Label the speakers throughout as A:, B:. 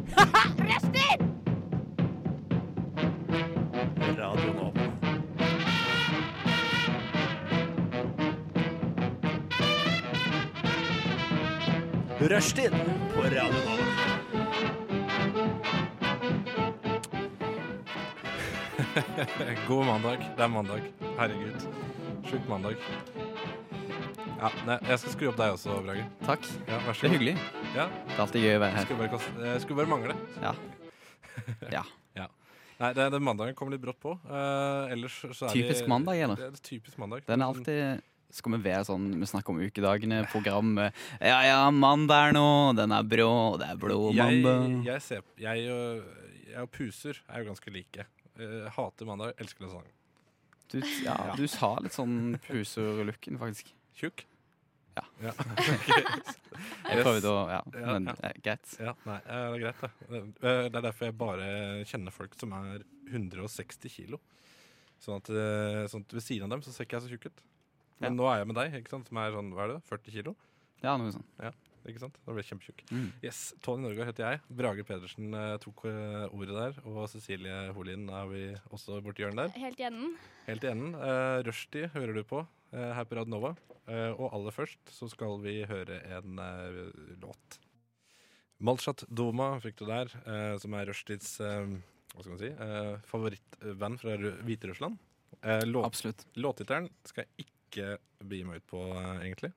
A: Rustin!
B: Radio Nova. Rushtid på Radio Nova.
C: God mandag. Det er mandag. Herregud. Sjuk mandag. Ja, nei, jeg skal skru opp deg også, Brage.
D: Takk.
C: Ja, vær
D: Det
C: så
D: er
C: god.
D: hyggelig.
C: Ja,
D: Det er alltid gøy å være her.
C: skulle bare, koste, eh, skulle bare mangle.
D: Ja. ja.
C: Nei, det, det mandagen kom litt brått på. Eh, ellers så er
D: Typisk
C: det,
D: mandag, eller?
C: Det er typisk mandag.
D: Den er alltid Skal vi være sånn Vi snakker om ukedagene, program eh, Ja ja, mandag er nå, den er brå, og det er blå mandag.
C: Jeg, jeg, ser, jeg, øh, jeg og puser er jo ganske like. Eh, hater mandag, elsker lasagne.
D: Du, ja, du sa litt sånn puser-looken, faktisk.
C: Tjukk?
D: Ja.
C: Yes.
D: Jeg prøvde å Ja,
C: Ja,
D: men
C: ja.
D: eh, greit.
C: Ja, nei, eh, det er greit, det. Eh, Det er derfor jeg bare kjenner folk som er 160 kilo. Sånn at, eh, sånn at ved siden av dem så ser ikke jeg så tjukk ut. Men nå er jeg med deg, ikke sant? som er sånn, hva er det, 40 kilo?
D: Ja, noe sånt.
C: Ikke sant? Da blir jeg kjempetjukk.
D: Mm.
C: Yes, Tony Norgård heter jeg. Brage Pedersen eh, tok eh, ordet der. Og Cecilie Holin er vi også borti hjørnet der.
A: Helt i enden.
C: Helt i enden. Uh, Rushdie hører du på eh, her på Rad Nova. Eh, og aller først så skal vi høre en eh, låt. Malshat Doma fikk du der, eh, som er Rushdies eh, hva skal man si, eh, favorittband fra Ru- Hviterussland. Eh, låt,
D: Absolutt.
C: låttittelen skal jeg ikke bi meg ut på, eh, egentlig.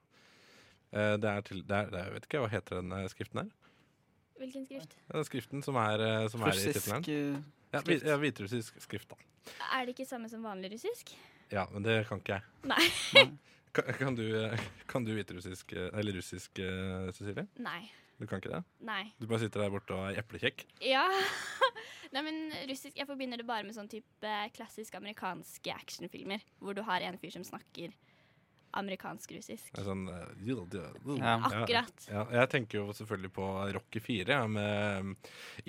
C: Eh, det er til, det er, det er, jeg vet ikke hva heter den eh, skriften her.
A: Hvilken skrift?
C: Ja, Den skriften som er, eh, som er i tittelen.
D: Russisk eh,
C: Ja,
D: skrift.
C: hvit- ja, hviterussisk skrift, da.
A: Er det ikke samme som vanlig russisk?
C: Ja, men det kan ikke jeg.
A: Nei.
C: Kan, kan du, kan du hviterussisk eh, Eller russisk, eh, Cecilie?
A: Nei.
C: Du kan ikke det?
A: Nei.
C: Du bare sitter der borte og er eplekjekk?
A: Ja. Nei, men russisk Jeg forbinder det bare med sånn type klassisk amerikanske actionfilmer. Hvor du har en fyr som snakker amerikansk-russisk.
C: Er Sånn, eh, jul, jul, jul.
D: Ja.
A: Akkurat.
C: Ja, jeg tenker jo selvfølgelig på Rocky 4 ja, med um,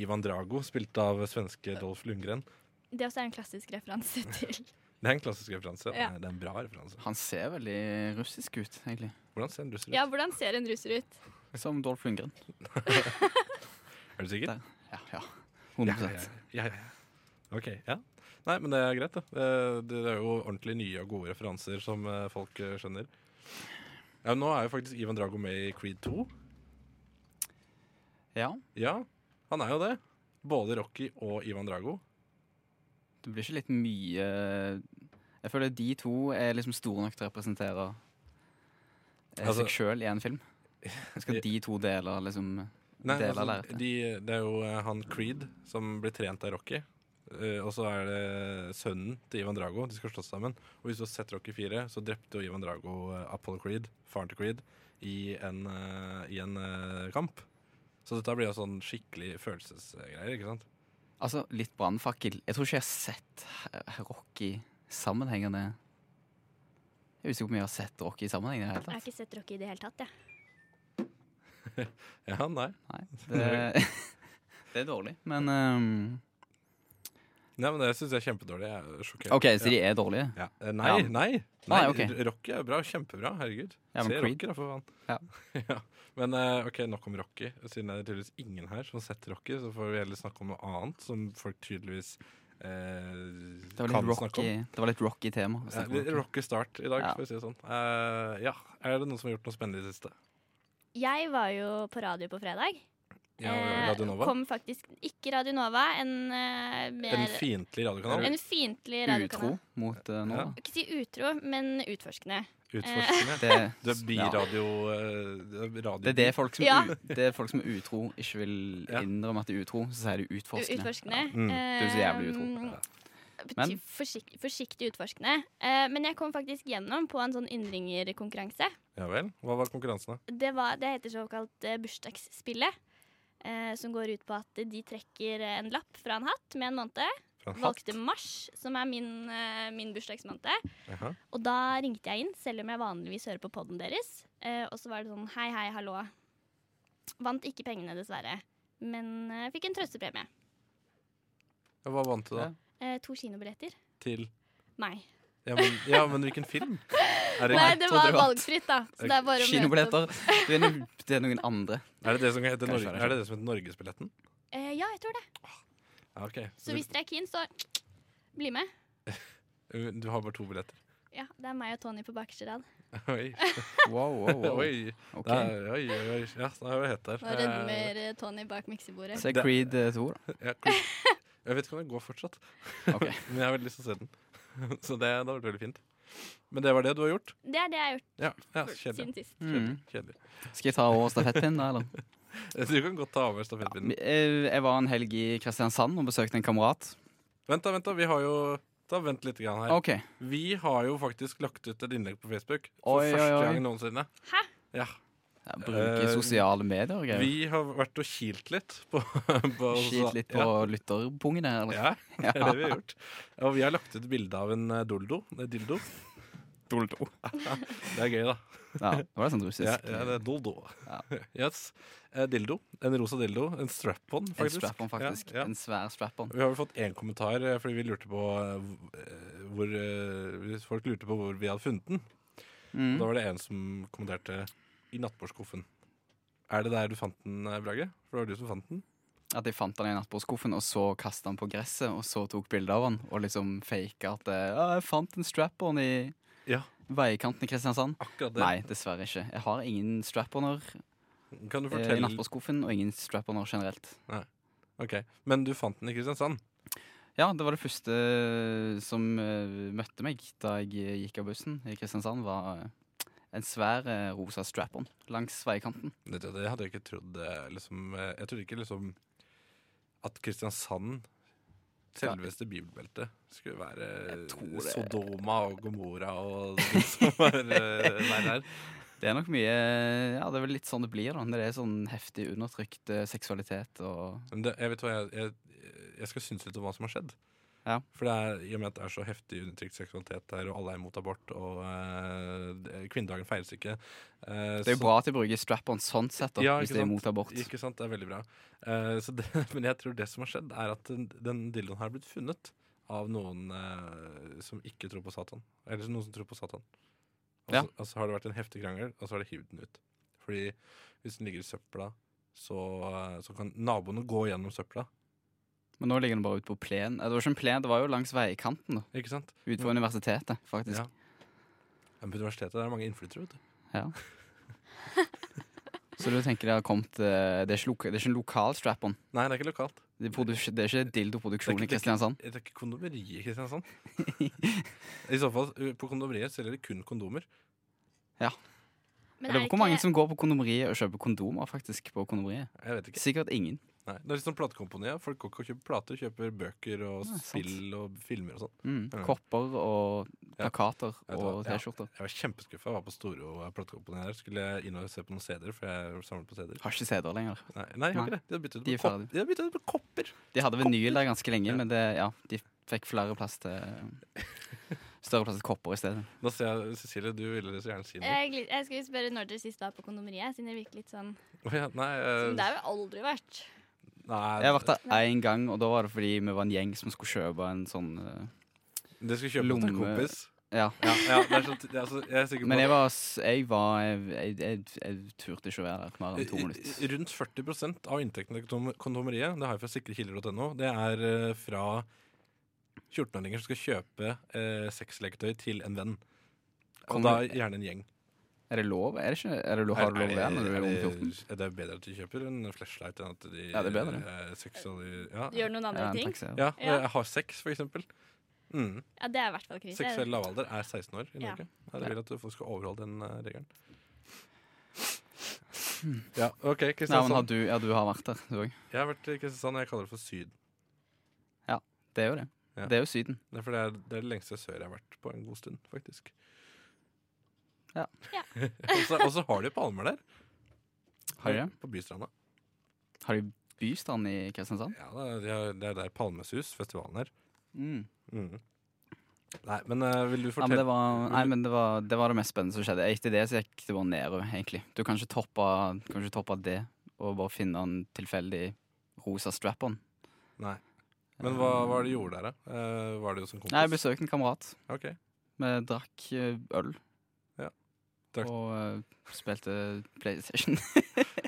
C: Ivan Drago, spilt av svenske Dolph Lundgren.
A: Det også er en klassisk referanse til
C: Det er en klassisk referanse.
A: Ja.
C: Det er- Det er en bra referanse.
D: Han ser veldig russisk ut, egentlig.
C: Hvordan ser en russer ut?
A: Ja, hvordan ser en russer ut?
D: Som Dolph Lundgren.
C: Er du sikker?
D: Der. Ja, ja.
C: Ja,
D: 100
C: ja, ja, ja, ja. OK. Ja. Nei, men det er greit, da. Eh, Det det er jo ordentlig nye og gode referanser som eh, folk eh, skjønner. Ja, nå er jo faktisk Ivan Drago med i Creed 2.
D: Ja.
C: Ja, han er jo det. Både Rocky og Ivan Drago.
D: Det blir ikke litt mye eh, Jeg føler de to er liksom store nok til å representere eh,
C: Altså-
D: seg sjøl i en film. Skal de to dele liksom
C: Nei,
D: Del av
C: altså,
D: lerretet.
C: de, det er jo eh, han Creed som blir trent av Rocky. Eh, og så er det sønnen til Ivan Drago. De skal slåss sammen. Og hvis du har sett Rocky 4, så drepte jo Ivan Drago eh, Apollo Creed, faren til Creed, i en, eh, i en eh, kamp. Så dette blir jo sånn skikkelig følelsesgreier, ikke sant?
D: Altså, litt brannfakkel. Jeg tror ikke jeg har sett eh, Rocky sammenhengende Jeg er usikker på om jeg har sett Rocky sammenhengende i det
A: Jeg har
D: hele tatt.
A: ikke sett Rocky i det hele tatt, jeg.
C: Ja, nei.
D: Nei, det, det er dårlig, men ehm,
C: nei men det syns jeg er kjempedårlig. Jeg er sjokkert.
D: OK, så de er dårlige?
C: ja. Eh, Nei,
D: Ja.
C: nei. nei
D: Nei, ok.
C: R- Rocky er bra. Kjempebra. Herregud.
D: Ja,
C: Se
D: men Creed.
C: Rocky, da, for faen.
D: Ja.
C: Ja. Men eh, ok, nok om Rocky. Siden det er tydeligvis ingen her som har sett Rocky, så får vi heller snakke om noe annet som folk tydeligvis eh,
D: Det var
C: kan
D: litt
C: snakke
D: rocky,
C: om.
D: det var litt rocky tema. å
C: Ja,
D: snakke om
C: litt
D: Rocky.
C: Rocky start i dag,
D: Ja.
C: for å si det sånn. Eh, ja. Er det noen som har gjort noe spennende i det siste?
A: Jeg var jo på radio på fredag.
C: Ja,
A: Eh,
C: Radio Nova?
A: Kom faktisk ikke Radio Nova, en eh, mer
C: En fiendtlig radiokanal?
A: en fiendtlig
D: Utro
A: radiokanal.
D: mot uh, nå.
C: Ja.
A: Ikke si utro, men utforskende.
C: Utforskende?
D: Det,
C: Det er
D: ja.
C: biradio eh, det er radio.
D: Det er det folk som,
A: Ja.
D: u, det er folk som er utro ikke vil
C: Ja.
D: innrømme at de er utro, så sier de utforskende.
A: Utforskende.
C: Mm,
D: er jo så jævlig utro.
A: Eh,
D: Men-
A: bety- Forsiktig, forsiktig utforskende. Eh, men jeg kom faktisk gjennom på en sånn yndringerkonkurranse.
C: Ja vel. Hva var konkurransen, da?
A: Det, var, det heter såkalt eh, bursdagsspillet. Eh, som går ut på at de trekker eh, en lapp fra en hatt med en måned.
C: Fra en hatt?
A: Valgte mars, som er min, eh, min bursdagsmåned.
C: Jaha.
A: Og da ringte jeg inn, selv om jeg vanligvis hører på podden deres. Eh, og så var det sånn hei, hei, hallo. Vant ikke pengene, dessverre. Men eh, fikk en trøstepremie.
C: Ja, Hva vant du, da?
D: Ja.
A: Eh, to kinobilletter.
C: Til
A: Meg.
C: Ja, men, ja, men hvilken film? Er det,
A: Nei, det
D: trodde
A: var
D: det var-
A: valgfritt, da. Så det er bare å møte opp.
D: Kinobilletter. Det, er no- det er noen andre.
C: er det det som heter
D: Kanskje
C: Norge,
D: er sånn. det
C: er det det som heter Norgesbilletten?
A: Eh, ja, jeg tror det.
C: Ja, ok.
A: Så hvis dere er keen, så bli med.
C: du, du har bare to billetter.
A: Ja, Det er meg og Tony på bakerste rad.
C: Oi.
D: Wow, wow, wow.
C: Oi.
D: Ok.
C: Da, oi, oi, oi. Ja, da er vi hett der.
A: Nå rødmer eh, Tony bak miksebordet.
D: Se Creed 2, da.
C: Eh, ja, cool. Jeg vet ikke om den går fortsatt,
D: Ok.
C: men jeg har veldig lyst til å se den. Så det, det har vært veldig fint. Men det var det du har gjort?
A: Det er det jeg har gjort
C: Ja, ja kjedelig.
A: siden sist.
C: Kjedelig.
D: Mm.
C: kjedelig.
D: Skal jeg ta over stafettpinnen, da? eller?
C: Du kan godt ta over stafettpinnen.
D: Eh, Jeg var en helg i Kristiansand og besøkte en kamerat.
C: Vent, da, vent, da. Vi har jo da, Vent litt grann her.
D: Ok,
C: Vi har jo faktisk lagt ut et innlegg på Facebook for
D: Oi, oi,
C: første
D: oi.
C: gang noensinne.
A: Hæ?
C: Ja.
D: ja, Bruke
C: Eh,
D: sosiale medier og greier.
C: Vi har vært og kilt litt på, på
D: Skit litt på
C: Ja.
D: lytterpungen her, eller?
C: Ja, det er det vi har gjort. Og vi har lagt ut bilde av en eh, dildo. eh, dildo.
D: Doldo.
C: Det er gøy, da.
D: Ja, det var sånn russisk.
C: Ja, ja, det er dildo. Yes. Eh, Dildo. En rosa dildo. En strap-on,
D: en
C: faktisk.
D: strap-on, faktisk.
C: Ja, ja.
D: En svær strap-on.
C: Vi har vel fått én kommentar eh, fordi vi lurte på eh, hv- eh, hvor eh, Folk lurte på hvor vi hadde funnet den.
D: Mm.
C: Da var det en som kommenterte 'i nattbordskuffen'. Er det der du fant den, eh, Brage? For det var du som fant den.
D: At jeg fant den i nattbordskuffen, og så kastet den på gresset, og så tok bilder av den, og liksom faka at eh, «Ja, jeg fant en strap-on i
C: Ja,
D: veikanten i Kristiansand.
C: akkurat det.
D: Nei, dessverre ikke. Jeg har ingen strap-oner
C: Kan du
D: eh, i
C: fortelle
D: nattbordskuffen, og ingen strap-oner generelt.
C: Ok, Men du fant den i Kristiansand?
D: Ja, det var det første som eh, møtte meg da jeg eh, gikk av bussen i Kristiansand, var eh, en svær eh, rosa strap-on langs veikanten.
C: Det, det, det hadde jeg ikke trodd. eh, Liksom, eh, jeg trodde ikke liksom at Kristiansand, selveste bibelbeltet, skulle være
D: Jeg tror det-
C: Sodoma og Gomorra og det som var eh, der. der.
D: Det er nok mye Ja, det er vel litt sånn det blir, da. Når det er sånn heftig undertrykt eh, seksualitet og
C: Men det, jeg vet hva, jeg, jeg, jeg skal synes litt om hva som har skjedd.
D: Ja.
C: For det er, I og med at det er så heftig undertrykt seksualitet der, og alle er imot abort, og eh, det- kvinnedagen feires ikke eh,
D: Det er
C: så-
D: jo bra at de bruker strap-on sånn sett, da,
C: Ja,
D: hvis
C: ikke
D: de er
C: sant?
D: mot abort.
C: Ikke sant, det er veldig bra. Eh, så det, men jeg tror det som har skjedd, er at den, den dildoen har blitt funnet av noen eh, som ikke tror på Satan. Eller noen som tror på Satan. Og så,
D: Ja.
C: og så har det vært en heftig krangel, og så har de hivd den ut. Fordi hvis den ligger i søpla, så, eh, så kan naboene gå gjennom søpla.
D: Men nå ligger den bare ute på plen. Eh, Det var ikke en plen, det var jo langs veikanten, da.
C: Ikke sant?
D: Ute på universitetet, faktisk.
C: Ja. Men på universitetet er det mange innflyttere, vet du.
D: Så du tenker det har kommet eh, Det er ikke, loka, det er ikke en lokal strap-on.
C: Nei, det er ikke lokalt.
D: Det er, produksj- det er ikke dildoproduksjon
C: Det er
D: i
C: ikke- det er
D: Kristiansand.
C: Det er ikke kondomeri i Kristiansand. I så fall, eh, på kondomeriet selger de kun kondomer.
A: Men
D: Jeg
A: er
D: lurer
A: det
D: på hvor mange
A: ikke
D: som går på kondomeriet og kjøper kondomer faktisk på kondomeriet.
C: Jeg vet ikke.
D: Sikkert ingen.
C: Nei, Det er litt sånn platekomponiet. Folk går ikke og kjøper plater, kjøper bøker og
D: Nei, sant.
C: spill og filmer og sånn.
D: Mm.
C: Ja.
D: Kopper og
C: Ja.
D: plakater
C: Jeg vet
D: og
C: hva, ja.
D: T-skjorter.
C: Jeg var kjempeskuffa. Jeg var på Storo eh, platekomponiet der. Skulle inn og se på noen CD-er, for jeg samler på CD-er.
D: Har ikke CD-er lenger.
C: Nei, nei, jeg har
D: Nei.
C: ikke det. De har byttet ut
D: De er
C: med kopp-
D: ferdig.
C: de har byttet ut med kopper.
D: De hadde vinyl der ganske lenge,
C: Ja.
D: men det, ja, de fikk flere plass til Større plass til kopper i stedet.
C: Da ser jeg Cecilie, du ville så gjerne si noe.
A: Eh, jeg, gl- jeg skulle spørre når dere sist var på kondomeriet, siden det virker litt sånn
C: Å ja, nei, eh,
A: Som det har jo aldri vært.
D: Jeg har
C: nei,
D: vært der én gang, og da var det fordi vi var en gjeng som skulle kjøpe en sånn eh,
C: det skal kjøpe noe til en
D: Lomme-
C: kompis.
D: Ja.
C: Ja, ja, det er sånn, det er så, jeg er sikker på
D: Men jeg var s- Jeg, var, jeg, jeg, jeg, jeg turte ikke å være der mer enn to minutter.
C: Eh, Rundt 40 av inntektene til kondom- kondomeriet Det har jeg fra sikrekilder.no. Det er eh, fra 14-åringer som skal kjøpe eh, sexleketøy til en venn. Og
D: Kommer-
C: da gjerne en gjeng.
D: Er det lov? Er det ikke, er det lov, har du lov å være når du er ung 14?
C: er det bedre at de kjøper en flashlight enn at de
D: Ja, det er bedre.
C: eh, seksuali- ja.
A: Du gjør noen
D: Ja,
A: andre
D: en
A: ting.
D: taxi, ja.
C: ja,
A: Ja.
C: eh, har sex, for eksempel. Mm.
A: Ja, Det er i hvert fall krise.
C: Seksuell lavalder er 16 år i
A: Ja.
C: Norge. Jeg vil at folk skal overholde den eh, regelen. Ja, OK,
D: Hmm. Nei, men har
C: Kristiansand.
D: du, sånn. ja, du har vært der, du òg.
C: Jeg har vært i Kristiansand, og jeg kaller det for Syden.
D: Det er jo det.
C: Ja.
D: Det er jo Syden.
C: Det er, for det, er, det er det lengste sør jeg har vært på en god stund, faktisk.
D: Ja.
A: Ja.
C: og så- og så har de palmer der.
D: Har de det?
C: På Bystranda.
D: Har de Bystrand i Kristiansand?
C: Ja, det er- de har- det er der Palmesus, festivalen her.
D: Mm.
C: Mhm. Nei, men eh, vil du
D: Ja, men
C: fortelle
D: det var, nei,
C: vil du-
D: men det var, det var det mest spennende som skjedde. Etter det så gikk det bare nedover, egentlig. Du kan ikke toppe, du kan ikke toppe det og bare finne en tilfeldig rosa strap-on.
C: Nei. Men hva, hva er det du gjorde der, da? Eh, var det jo som kompis?
D: Nei, jeg besøkte en kamerat.
C: Ok.
D: Vi drakk eh, øl.
C: Ja. Drakk-
D: Og eh, spilte PlayStation.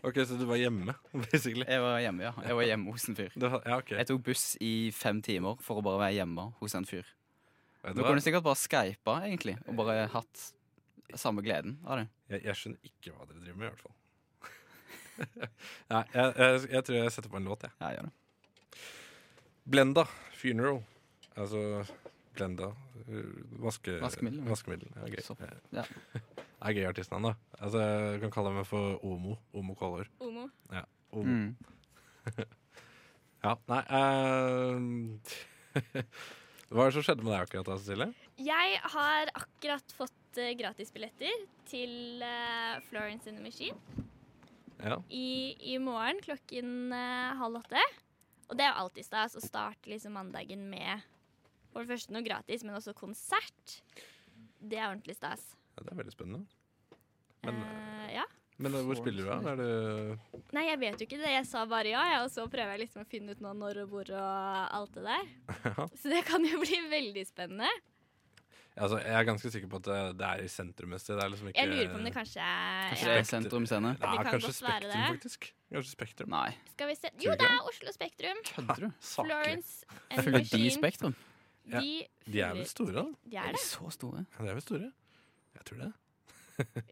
C: Ok, Så du var hjemme, basically?
D: Jeg var hjemme, ja. Jeg var hjemme hos en fyr.
C: Det var, ja, ok.
D: Jeg tok buss i fem timer for å bare være hjemme hos en fyr.
C: Vet
D: Du
C: du hva?
D: kunne sikkert bare skypa, egentlig, og bare hatt samme gleden av det.
C: Jeg, jeg skjønner ikke hva dere driver med, i hvert fall. Nei, jeg, jeg, jeg tror jeg setter på en låt, jeg.
D: Ja, jeg gjør det.
C: Blenda Funeral. Altså Blenda uh, vaske,
D: Vaskemiddel, ja.
C: vaskemiddel. Ja, gøy.
D: Så-
C: Eh,
D: ja.
C: Er gøy artistnavn, da. Altså, jeg kan kalle meg for Omo. Omo Kålhår.
A: Omo.
C: Omo.
D: Mm.
C: Ja, nei eh, Hva er det som skjedde med deg akkurat da, Cecilie?
A: Jeg har akkurat fått eh, gratisbilletter til eh, Florence in the Machine
C: Ja.
A: i, i morgen klokken eh, halv åtte. Og det er jo alltid stas å starte liksom mandagen med for det første noe gratis, men også konsert. Det er ordentlig stas.
C: ja det er veldig spennende. Men,
A: Eh, ja.
C: Men eh, hvor spiller du, da? Er du
A: Nei, jeg vet jo ikke det. Jeg sa bare ja, jeg, og så prøver jeg liksom å finne ut nå når og hvor og alt det der.
C: ja.
A: Så det kan jo bli veldig spennende.
C: altså, Jeg er ganske sikker på at det- det er i sentrum et sted. Det er liksom ikke
A: Jeg lurer på om det kanskje
D: Kanskje det
A: ja.
D: er Sentrum Scene?
C: Det er
A: kan
C: kanskje
A: godt være
C: Spektrum,
A: det.
C: faktisk. Kanskje Spektrum.
D: Nei,
A: Skal vi se
C: Tror
A: Jo,
C: du
A: det
C: ikke
A: er Oslo Spektrum.
D: kødder du?
C: Saklig.
A: Florence and the
D: Følger de
A: Machine.
D: Spektrum?
C: Ja,
A: De,
C: De er vel
A: fyller-
C: store, da?
A: De er
D: Er de
A: det.
D: så store?
C: Ja, De er vel store? Jeg tror det.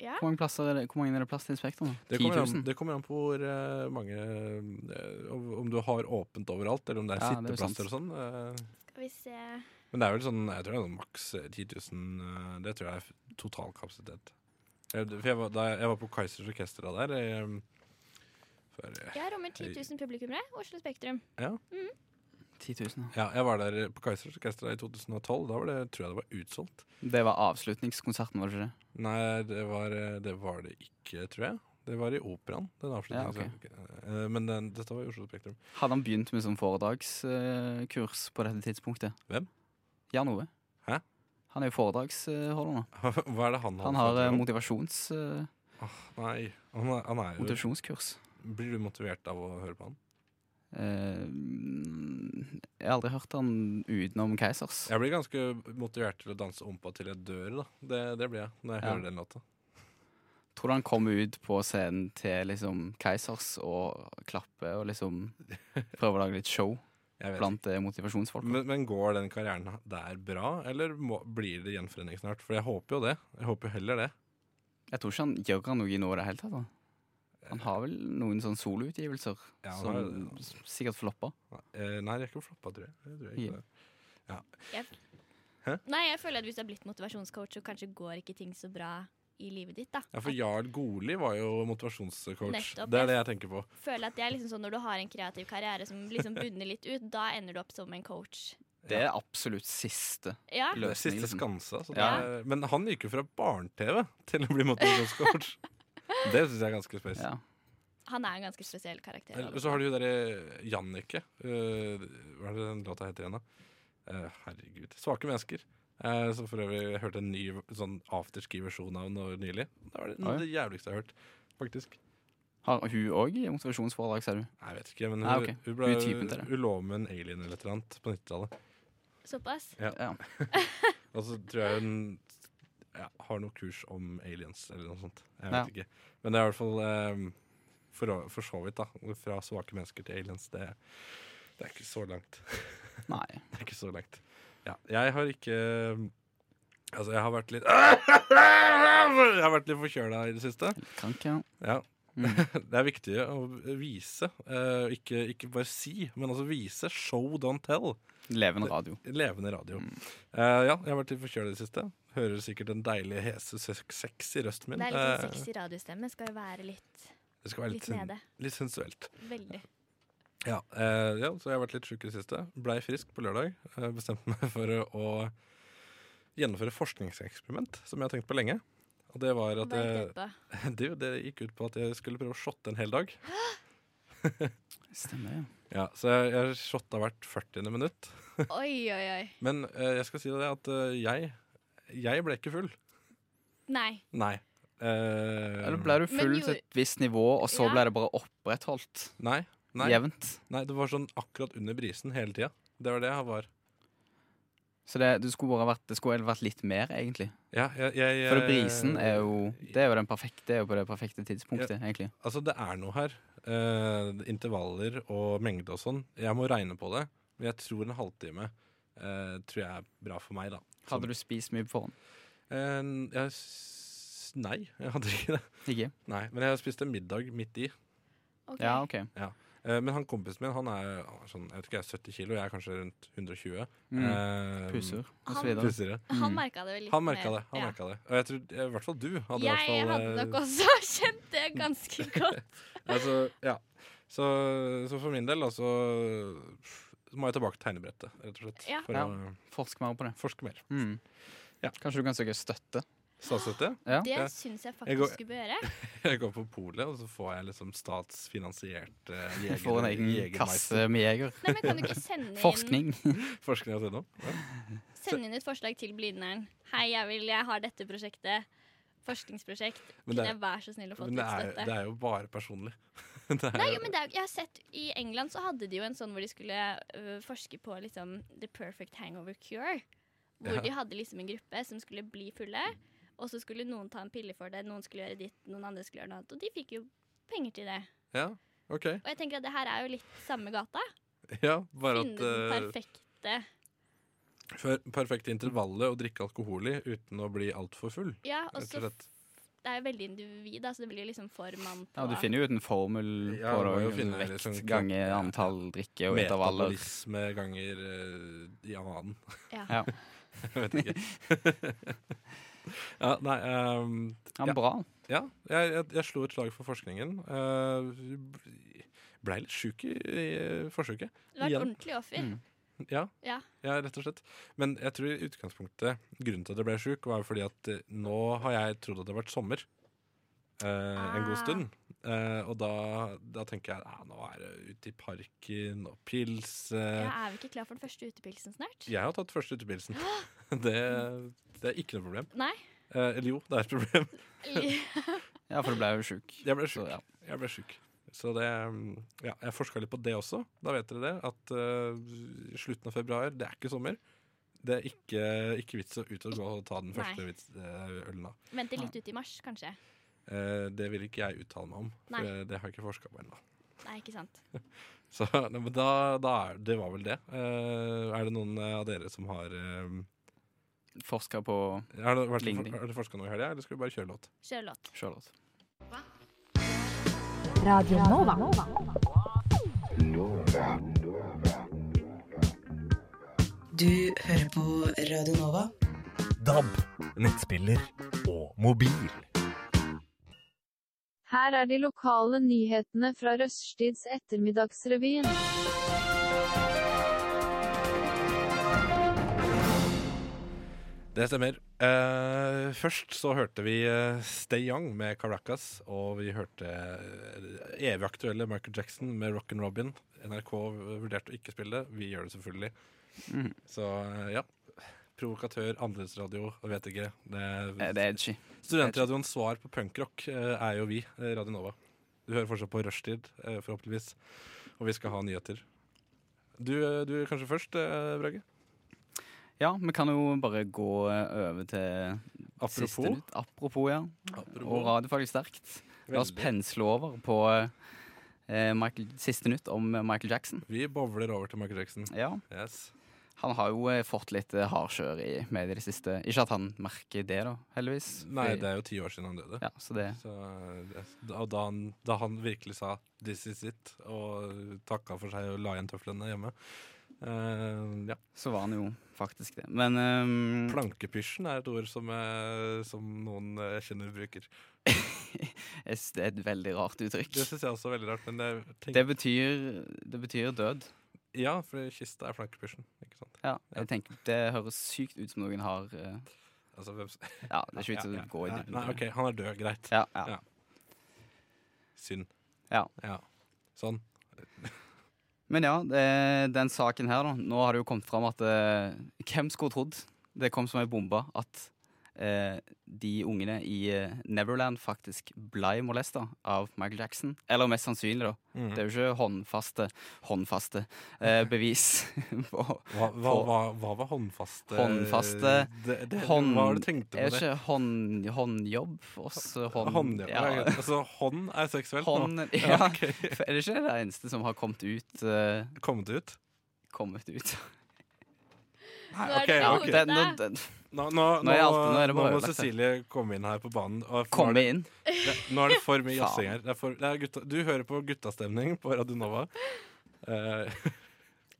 A: Ja.
D: Hvor mange, plasser er det, hvor mange er det plass til i Spektrum? da?
C: Det
D: 10
C: kommer, an,
D: 000?
C: det kommer an på hvor eh, mange eh, om- Om du har åpent overalt, eller om det er
D: Ja, det er jo sant.
C: sitteplasser og sånn. eh.
A: Skal vi se
C: men det er vel sånn jeg tror det er sånn maks eh, 10 000. eh, det tror jeg er f- total kapasitet. Jeg, for jeg, var, da jeg, jeg var på Kaizers Orkester da der. eh, før, eh,
A: Jeg rommer 10 000 publikummere. Oslo Spektrum.
D: 10 000, ja.
C: ja, jeg var der på Kaizers Orkester da i 2012. Da var det, tror jeg det var utsolgt.
D: Det var avslutningskonserten, var det ikke det?
C: Nei, det var eh, det, var det ikke, tror jeg. Det var i operaen. Den avslutningen.
D: Ja,
C: Eh, Men den, dette var i Oslo Spektrum.
D: Hadde han begynt med sånn foredragskurs eh, på dette tidspunktet?
C: Hvem?
D: Jan Ove.
C: Hæ?
D: Han er jo foredragsholder nå.
C: Hva er det han
D: Han har eh,
C: foredrag om?
D: motivasjons, eh,
C: Nei, han er, han er jo
D: motivasjonskurs.
C: Blir du motivert av å høre på han?
D: Eh, mm, jeg har aldri hørt han utenom Keisers.
C: Jeg blir ganske motivert til å danse ompa til jeg dør, da. Det, det blir jeg når jeg
D: Ja.
C: hører den låta.
D: Tror du han kommer ut på scenen til liksom Keisers og klapper og liksom prøver å lage litt show
C: Jeg vet
D: blant eh,
C: ikke.
D: motivasjonsfolk?
C: Men, men går den karrieren der bra, eller må, blir det gjenforening snart? For jeg håper jo det. Jeg håper jo heller det.
D: Jeg tror ikke han gjør han noe i nå i det hele tatt. da. Han har vel noen sånne soloutgivelser
C: Ja, han
D: som
C: har-
D: s- sikkert flopper.
C: Eh, Nei, de er ikke floppa, tror jeg. jeg, tror ikke
D: Ja.
C: det.
A: Nei, jeg føler at hvis du har blitt motivasjonscoach, så kanskje går ikke ting så bra i livet ditt, da.
C: Ja, for Jarl Goli var jo motivasjonscoach.
A: Nettopp,
C: Det
A: ja.
C: er det jeg tenker på.
A: Jeg føler at det er liksom sånn når du har en kreativ karriere som liksom bunner litt ut, da ender du opp som en coach.
D: Det er absolutt siste
A: Ja.
C: Det er
D: løsning.
C: siste
D: Liksom.
C: skanse. Så det
D: Ja.
C: er, men han gikk jo fra barne-TV til å bli motivasjonscoach. det syns jeg er ganske space.
D: Ja.
A: Han er en ganske spesiell karakter.
C: Eller Så har du jo derre Jannicke. eh, hva er det den låta heter igjen, da? Eh, herregud. 'Svake mennesker'. Eh, som for øvrig jeg hørte en ny sånn afterski-versjon av nå nylig. Det var det, noe
D: Oi.
C: av det jævligste jeg har hørt, faktisk.
D: Har hun òg motivasjonsforedrag, ser du?
C: Nei, jeg vet ikke, men hun,
D: Ah, ok.
C: hun
D: Hun er typen til
C: ble
D: det.
C: hun lå med en alien eller et eller annet på 90-tallet.
A: Såpass.
D: Ja.
C: Og så tror jeg hun ja, har noe kurs om aliens eller noe sånt. Jeg
D: Ja.
C: vet ikke. Men det er i hvert fall eh, for, å- for så vidt, da. Fra svake mennesker til aliens. Det, det er ikke så langt.
D: Nei.
C: Det er ikke så langt. Ja, jeg har ikke Altså, jeg har vært litt Jeg har vært litt forkjøla i det siste.
D: Kan ikke
C: Ja.
D: Mm.
C: Det er viktig å vise. eh, ikke, ikke bare si, men altså vise. Show, don't tell.
D: Levende radio.
C: Levende radio.
D: Mm.
C: Eh, ja, jeg har vært litt forkjøla i det siste. Hører sikkert den deilige, hese, se- sexy røsten min.
A: Det er litt sånn
C: Eh,
A: sexy radiostemme. Skal jo være litt,
C: det skal være litt,
A: litt
C: sen-
A: nede.
C: litt sensuelt.
A: Veldig.
C: Ja, eh, ja, så jeg har vært litt sjuk i det siste. Blei frisk på lørdag. Eh, bestemte meg for å gjennomføre forskningseksperiment som jeg har tenkt på lenge. Og det var at eh,
A: Hva gikk det
C: jeg,
A: ut på?
C: det, det gikk ut på at jeg skulle prøve å shotte en hel dag.
D: Stemmer, ja.
C: Ja, Så jeg, jeg shotta hvert 40. minutt.
A: Oi, oi, oi.
C: Men eh, jeg skal si det at eh, jeg, jeg ble ikke full.
A: Nei.
C: Nei. Eh,
D: Eller ble du
A: Men
D: full
A: jo-
D: til et visst nivå, og så
A: Ja.
D: ble det bare opprettholdt
C: Nei. Nei,
D: jevnt?
C: nei, det var sånn akkurat under brisen hele tida. Det var det jeg var.
D: Så det, det skulle bare vært, det skulle vært litt mer, egentlig.
C: Ja, jeg, jeg,
D: For brisen er jo Det er jo, den perfekte, det er jo på det perfekte tidspunktet, egentlig.
C: Altså, det er noe her. Eh, intervaller og mengde og sånn. Jeg må regne på det, men jeg tror en halvtime eh, tror jeg er bra for meg, da.
D: Hadde du spist mye på forhånd?
C: Eh, jeg, s- nei, jeg hadde ikke det.
D: Ikke?
C: Nei, Men jeg spiste en middag midt i.
A: Ok.
D: Ja, OK.
C: Eh, men han kompisen min han er, han er sånn, jeg vet ikke, jeg er 70 kilo, jeg er kanskje rundt 120.
D: Mm.
C: Eh,
D: Puser og så
A: Han-
D: videre.
C: Pusere.
A: Han
D: Mm.
A: merka det vel litt
C: Han merka det. han
A: ja.
C: merket det Og jeg tror, i hvert fall du hadde i
A: jeg
C: hvert fall
A: hadde
C: eh,
A: nok også kjent det ganske godt.
C: altså, ja. så, så for min del, da, så så må jeg tilbake til tegnebrettet, rett og slett.
A: Ja.
C: For
D: Ja.
C: å
D: Forsk mer på det.
C: forske mer.
D: Mm.
C: Ja.
D: Kanskje du kan søke støtte?
C: Statsstøtte.
D: Ja.
A: Det
C: Ja.
A: syns jeg
C: Jeg går-
A: faktisk du bør gjøre.
C: Jeg går på polet, og så får jeg liksom statsfinansiert eh,
D: Du får en egen kasse med jeger.
A: Nei, men Kan du ikke sende inn,
D: Forskning.
C: Forskning og sånn. Ja.
A: sende inn et forslag til Blindern? Hei, jeg, vil, jeg har dette prosjektet. Forskningsprosjekt.
C: Men det
A: Kunne
C: er-
A: jeg være så snill å få
C: Men det er,
A: støtte?
C: det er jo bare personlig. det er,
A: Nei, jo, men det er, jo- jeg har sett I England så hadde de jo en sånn hvor de skulle øh, forske på liksom the perfect hangover cure. Hvor
C: Ja.
A: de hadde liksom en gruppe som skulle bli fulle, og så skulle noen ta en pille for det, noen skulle gjøre ditt, noen andre skulle gjøre noe annet. Og de fikk jo penger til det.
C: Ja, ok.
A: Og jeg tenker at det her er jo litt samme gata.
C: Ja, bare at
A: Finne den
C: eh,
A: perfekte
C: for- Perfekte intervallet å drikke alkohol i uten å bli altfor full.
A: Ja, og
C: Rett og
A: så
C: slett.
A: det er jo veldig individ, da, så det blir jo liksom for mann på
D: Ja, du finner jo ut en formel på
C: Ja, du må
D: det.
C: jo
D: og
C: finne
D: Vekt
C: liksom-
D: ganger antall drikke og intervaller.
C: Metabolisme ganger eh, i annen.
A: Ja.
D: Ja.
C: Jeg vet ikke. ja, nei ehm,
D: Ja,
C: Ja.
D: bra.
C: Ja, jeg, jeg, jeg slo et slag for forskningen. Uh, Blei litt sjuk i, i forsøket.
A: Du har vært
C: Igjen.
A: ordentlig offer.
D: Mm.
C: Ja,
A: Ja.
C: ja, rett og slett. Men jeg tror i utgangspunktet grunnen til at jeg ble sjuk, var fordi at eh, nå har jeg trodd at det har vært sommer eh, en god
A: Ah.
C: stund. Eh, og da, da tenker jeg at nå er det ute i parken og pils. eh,
A: Ja, er vi ikke klar for den første utepilsen snart?
C: Jeg har tatt første utepilsen. Det, det er ikke noe problem.
A: Nei.
C: Eh, eller jo, det er et problem.
D: Ja, for du ble jo sjuk.
C: Jeg ble
D: Så
C: sjuk.
D: ja.
C: Jeg ble syk. Så det, mm, ja, jeg forska litt på det også. Da vet dere det. At eh, slutten av februar, det er ikke sommer. Det er ikke, ikke vits å ut og gå og ta den første vits, eh, ølen da.
A: Vente litt ut i mars, kanskje.
C: Eh, det vil ikke jeg uttale meg om, for
A: Nei.
C: det har jeg ikke forska på ennå.
A: Nei, ikke sant.
C: Så nei, men da, da er, det var vel det. Eh, er det noen av dere som har eh,
D: Forska på
C: Har det, vært-
D: Ligning.
C: har dere forska noe i helga, eller skal vi bare kjøre låt?
A: Kjør låt.
D: Charlotte.
E: Radio Nova.
F: Du hører på Radio Nova.
B: DAB, nettspiller og mobil.
G: Her er de lokale nyhetene fra Røststids ettermiddagsrevyen.
C: Det stemmer. Eh, først så hørte vi eh, Stay Young med Caracas, og vi hørte eh, evig aktuelle Michael Jackson med Rockin' Robin. NRK vurderte å ikke spille det. Vi gjør det selvfølgelig.
D: Mhm.
C: Så eh, ja. Provokatør, annerledesradio, jeg vet ikke. Det
D: Eh, Det er edgy.
C: Studentradioens svar på punkrock eh, er jo vi, eh, Radio Nova. Du hører fortsatt på Rushtid, eh, forhåpentligvis. Og vi skal ha nyheter. Du, eh, du kanskje først, eh, Brage?
D: Ja, vi kan jo bare gå eh, over til siste
C: Apropos.
D: nytt. Apropos, ja. Og radiofaglig sterkt. La oss
C: Veldig.
D: pensle over på eh, Michael, siste nytt om eh, Michael Jackson.
C: Vi bowler over til Michael Jackson.
D: Ja,
C: Yes.
D: Han har jo eh, fått litt eh, hardkjør i media i det siste. Ikke at han merker det, da, heldigvis.
C: Nei,
D: Fordi-
C: det er jo ti år siden han døde.
D: ja, så det
C: Så, det, da, da, han, da han virkelig sa 'this is it' og takka for seg og la igjen tøflene hjemme eh, Ja.
D: Så var han jo faktisk det. Men ehm,
C: Plankepysjen er et ord som, eh, som noen eh, jeg kjenner bruker.
D: jeg synes det er et veldig rart
C: Det
D: uttrykk.
C: syns jeg også er veldig rart. Men jeg tenker,
D: Det betyr, det betyr død.
C: ja, for kista er plankepysjen. Ikke sant?
D: Ja, jeg tenker, Det høres sykt ut som noen har eh,
C: Altså, hvem, s-
D: Ja, det er ikke vits
C: Ja,
D: i
C: ja.
D: å gå i
C: Nei,
D: dybden.
C: Nei,
D: på det.
C: OK, han er død. Greit.
D: Ja, ja.
C: Ja. Synd.
D: Ja.
C: Sånn.
D: Men ja, det, den saken eh, her, da. Nå har det jo kommet fram at eh, Hvem skulle trodd? Det kom som ei bombe at eh, de ungene i eh, Neverland faktisk ble molesta av Michael Jackson. Eller mest sannsynlig, da.
C: Mm.
D: Det er jo ikke håndfaste, håndfaste eh, bevis på
C: Hva, hva,
D: Få-
C: hva, hva var håndfaste
D: Håndfaste-
C: det, det,
D: hånd-
C: Hva var det du tenkte
D: Er
C: med det?
D: ikke hånd, håndjobb for oss? eh, Hånd,
C: Hånd, ja.
D: ja.
C: Altså, hånd er seksuelt nå.
D: Hånd, ja.
C: Ja, ok.
D: For Er det ikke det eneste som har kommet ut? eh,
C: Kommet ut?
D: kommet ut?
C: Nei,
A: Nå er
C: ok,
A: det
C: ok.
A: hodet.
D: Den, den, den,
C: Nå, nå, nå,
D: Nå er jeg alt- nå er det
C: nå
D: bare
C: må
D: ødelagt, det.
C: Cecilie komme inn her på banen. og for-
D: komme inn.
C: Det, nå er det for mye
D: Faen.
C: jazzing her. Det er for, det er gutta, du hører på guttastemning på Radio Nova. Eh,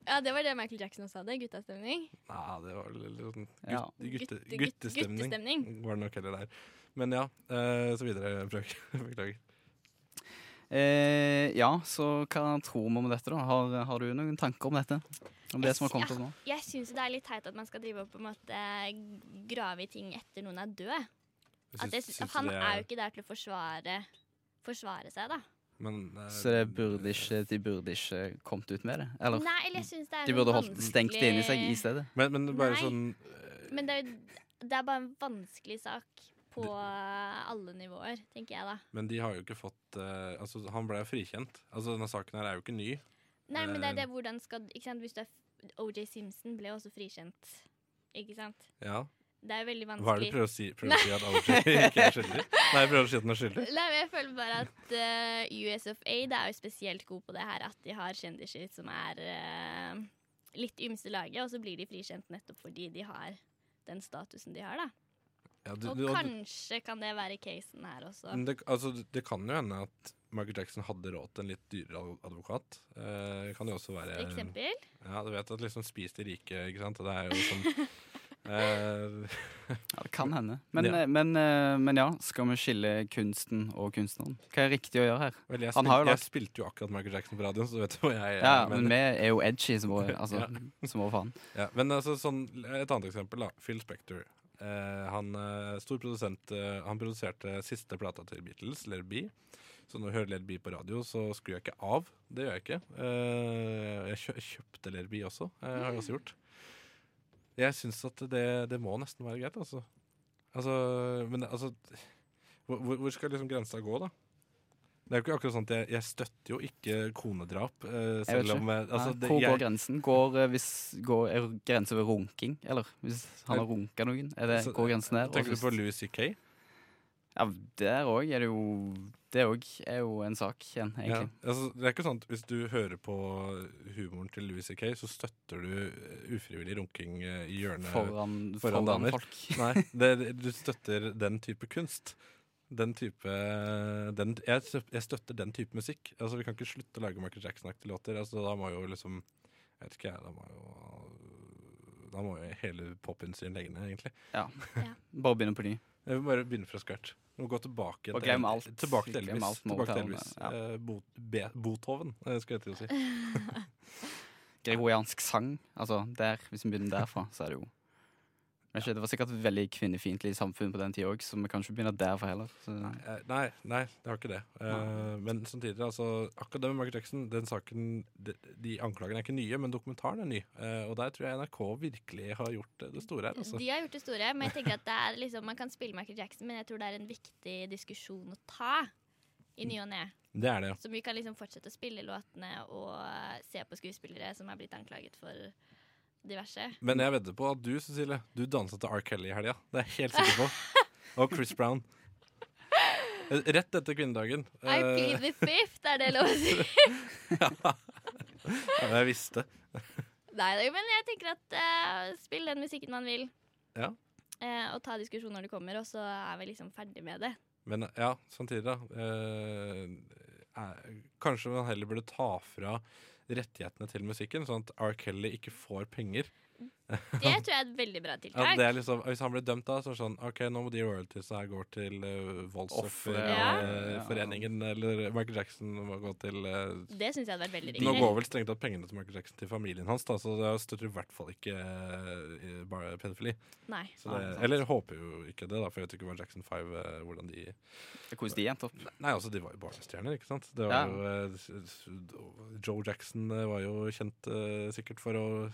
A: Ja, det var det Michael Jackson også hadde. Guttastemning.
C: nei, det var litt sånn gut,
D: Ja.
C: gutte,
A: Gutte- gut-
C: guttestemning.
A: guttestemning.
C: Var det nok heller der. Men ja, eh, så videre. Brøk. Beklager.
D: Eh, ja, så hva tror vi om dette, da? Har, har du noen tanker om dette? Om det som har kommet opp nå?
A: Jeg syns det er litt teit at man skal drive og på en måte grave i ting etter noen er død. At jeg
C: Syns-
A: syns,
C: syns du
A: han
C: det
A: er jo ikke der til å forsvare, forsvare seg, da.
C: men, eh,
D: Så det burde ikke, de burde ikke kommet ut med det? Eller
A: Nei, eller jeg syns det er
D: de
A: en
D: burde holdt stengt det inni seg i
A: vanskelig-
D: stedet?
C: Men, men det er bare
A: Nei.
C: sånn
A: Men det er, jo- det er bare en vanskelig sak på eh, alle nivåer, tenker jeg da.
C: Men de har jo ikke fått eh, Altså, han ble jo frikjent. Altså, denne saken her er jo ikke ny.
A: Nei, men det er
C: Eh.
A: det hvordan skal ikke sant? Hvis du er f- OJ Simpson ble jo også frikjent, ikke sant?
C: Ja.
A: Det er jo veldig vanskelig.
C: Hva er det du prøver å si? Prøver å si at OJ ikke er skyldig? Nei, jeg prøver å si at han er skyldig.
A: Nei, men jeg føler bare at eh, US of A det er jo spesielt god på det her at de har kjendiser som er eh, litt ymse laget, og så blir de frikjent nettopp fordi de har den statusen de har, da.
C: Ja, du,
A: Og
C: du, og du,
A: kanskje kan det være casen her også.
C: Men det, altså, det kan jo hende at Michael Jackson hadde råd til en litt dyrere ad- advokat. Eh, kan jo også være
A: For eksempel.
C: Ja, du vet at liksom spis de rike, ikke sant. Det er jo sånn eh,
D: Ja, det kan hende. Men
C: Ja.
D: ja. Men, eh, men ja, skal vi skille kunsten og kunstneren? Hva er riktig å gjøre her?
C: Vel, jeg,
D: Han
C: spil,
D: har jo
C: jeg
D: lagt-
C: spilte jo akkurat Michael Jackson på radioen, så du vet hva jeg
D: Ja,
C: eh,
D: men vi er jo edgy som vår, altså,
C: Ja.
D: som vår faen.
C: Ja, men altså, sånn, et annet eksempel, da. Phil Spector. Eh, han eh, stor produsent eh, Han produserte siste plata til Beatles, Let It Be. Så når jeg hører Let It Be på radio, så skrur jeg ikke av. Det gjør jeg ikke. Eh, jeg kjø kjøpte Let It Be også. Eh, har jeg også gjort. Jeg syns at det, det må nesten være greit, altså. Altså, men altså hvor, hvor- hvor skal liksom grensa gå, da? Det er jo ikke akkurat sånn at jeg, jeg støtter jo ikke konedrap. Eh,
D: Jeg vet
C: selv om jeg, altså,
D: Nei,
C: det,
D: Hvor
C: jeg,
D: går grensen? Går, eh, hvis, går er grensen ved runking? Eller hvis han har runka noen? Er det,
C: Så-
D: går grensen der? Og
C: Tenker du
D: hvis-
C: på Louis C.K.?
D: Ja, der òg er det jo Det òg er jo en sak igjen,
C: Ja.
D: egentlig.
C: Altså, det er ikke sånn at hvis du hører på humoren til Louis C.K., så støtter du eh, ufrivillig runking eh, i hjørnet. foran
D: Foran, foran,
C: damer.
D: folk.
C: Nei, det, du støtter den type kunst. Den type den, jeg, stø- jeg støtter den type musikk. Altså, vi kan ikke slutte å lage Michael Jackson-aktige låter. Altså, da må jo liksom Jeg vet ikke, jeg. Da må jo da må jo hele popindustrien legge ned, egentlig.
D: Bare begynne på ny.
C: Jeg vil bare begynne fra scratch. Vi må gå tilbake
D: Og glem alt.
C: Tilbake til
D: Glem
C: Elvis.
D: alt
C: tilbake til
D: Motown,
C: Elvis.
D: ja.
C: Eh, Bo- Be- Botoven, eh, skal jeg til å si.
D: Gregoriansk sang. Altså, der, hvis vi begynner derfra, så er det jo men ikke, Det var sikkert et veldig kvinnefiendtlig samfunn på den tida òg, så vi kan ikke begynne derfra heller. Så,
C: Eh, Nei, nei, det var ikke det. Eh, men samtidig, altså, akkurat det med Michael Jackson, den saken, de, de anklagene er ikke nye, men dokumentaren er ny. Eh, og der tror jeg NRK virkelig har gjort eh, det store her. Altså.
A: De har gjort det store, men jeg tenker at det er liksom, man kan spille Michael Jackson, men jeg tror det er en viktig diskusjon å ta i ny og ne.
C: Det er det, ja.
A: Så vi kan liksom fortsette å spille låtene og eh, se på skuespillere som er blitt anklaget for diverse.
C: Men jeg vedder på at du, Cecilie, du dansa til R. Kelly i helga. Det er jeg helt sikker på. Og Chris Brown. Eh, Rett etter kvinnedagen.
A: I
C: Eh,
A: plead the fifth, er det lov å si?
C: ja, jeg visste.
A: Nei, det- men jeg tenker at eh, spill den musikken man vil.
C: Ja.
A: Eh, og ta diskusjonen når det kommer, og så er vi liksom ferdig med det.
C: Men ja, samtidig da eh, eh, Kanskje man heller burde ta fra rettighetene til musikken, sånn at R. Kelly ikke får penger.
A: Det tror jeg er et veldig bra
C: Ja,
A: tiltak.
C: det er liksom, hvis han blir dømt da, så er det sånn OK, nå må de royalties her gå til uh,
D: Offer, ja.
C: Voldsofferforeningen, eller Michael Jackson må gå til eh,
A: Det syns jeg hadde vært veldig
C: Nå
A: riktig.
C: går vel strengt tatt pengene til Michael Jackson til familien hans, da, så det støtter i hvert fall ikke eh, bare pedofili.
A: Nei.
C: Så
D: Nei,
C: det,
D: sant.
C: eller håper jo ikke det, da, for jeg vet ikke hva Jackson 5 eh, hvordan de
D: hvordan de endte opp.
C: Nei, altså, de var jo barnestjerner, ikke sant? Det var
D: Ja.
C: jo, eh, s- s- Joe Jackson eh, var jo kjent eh, sikkert for å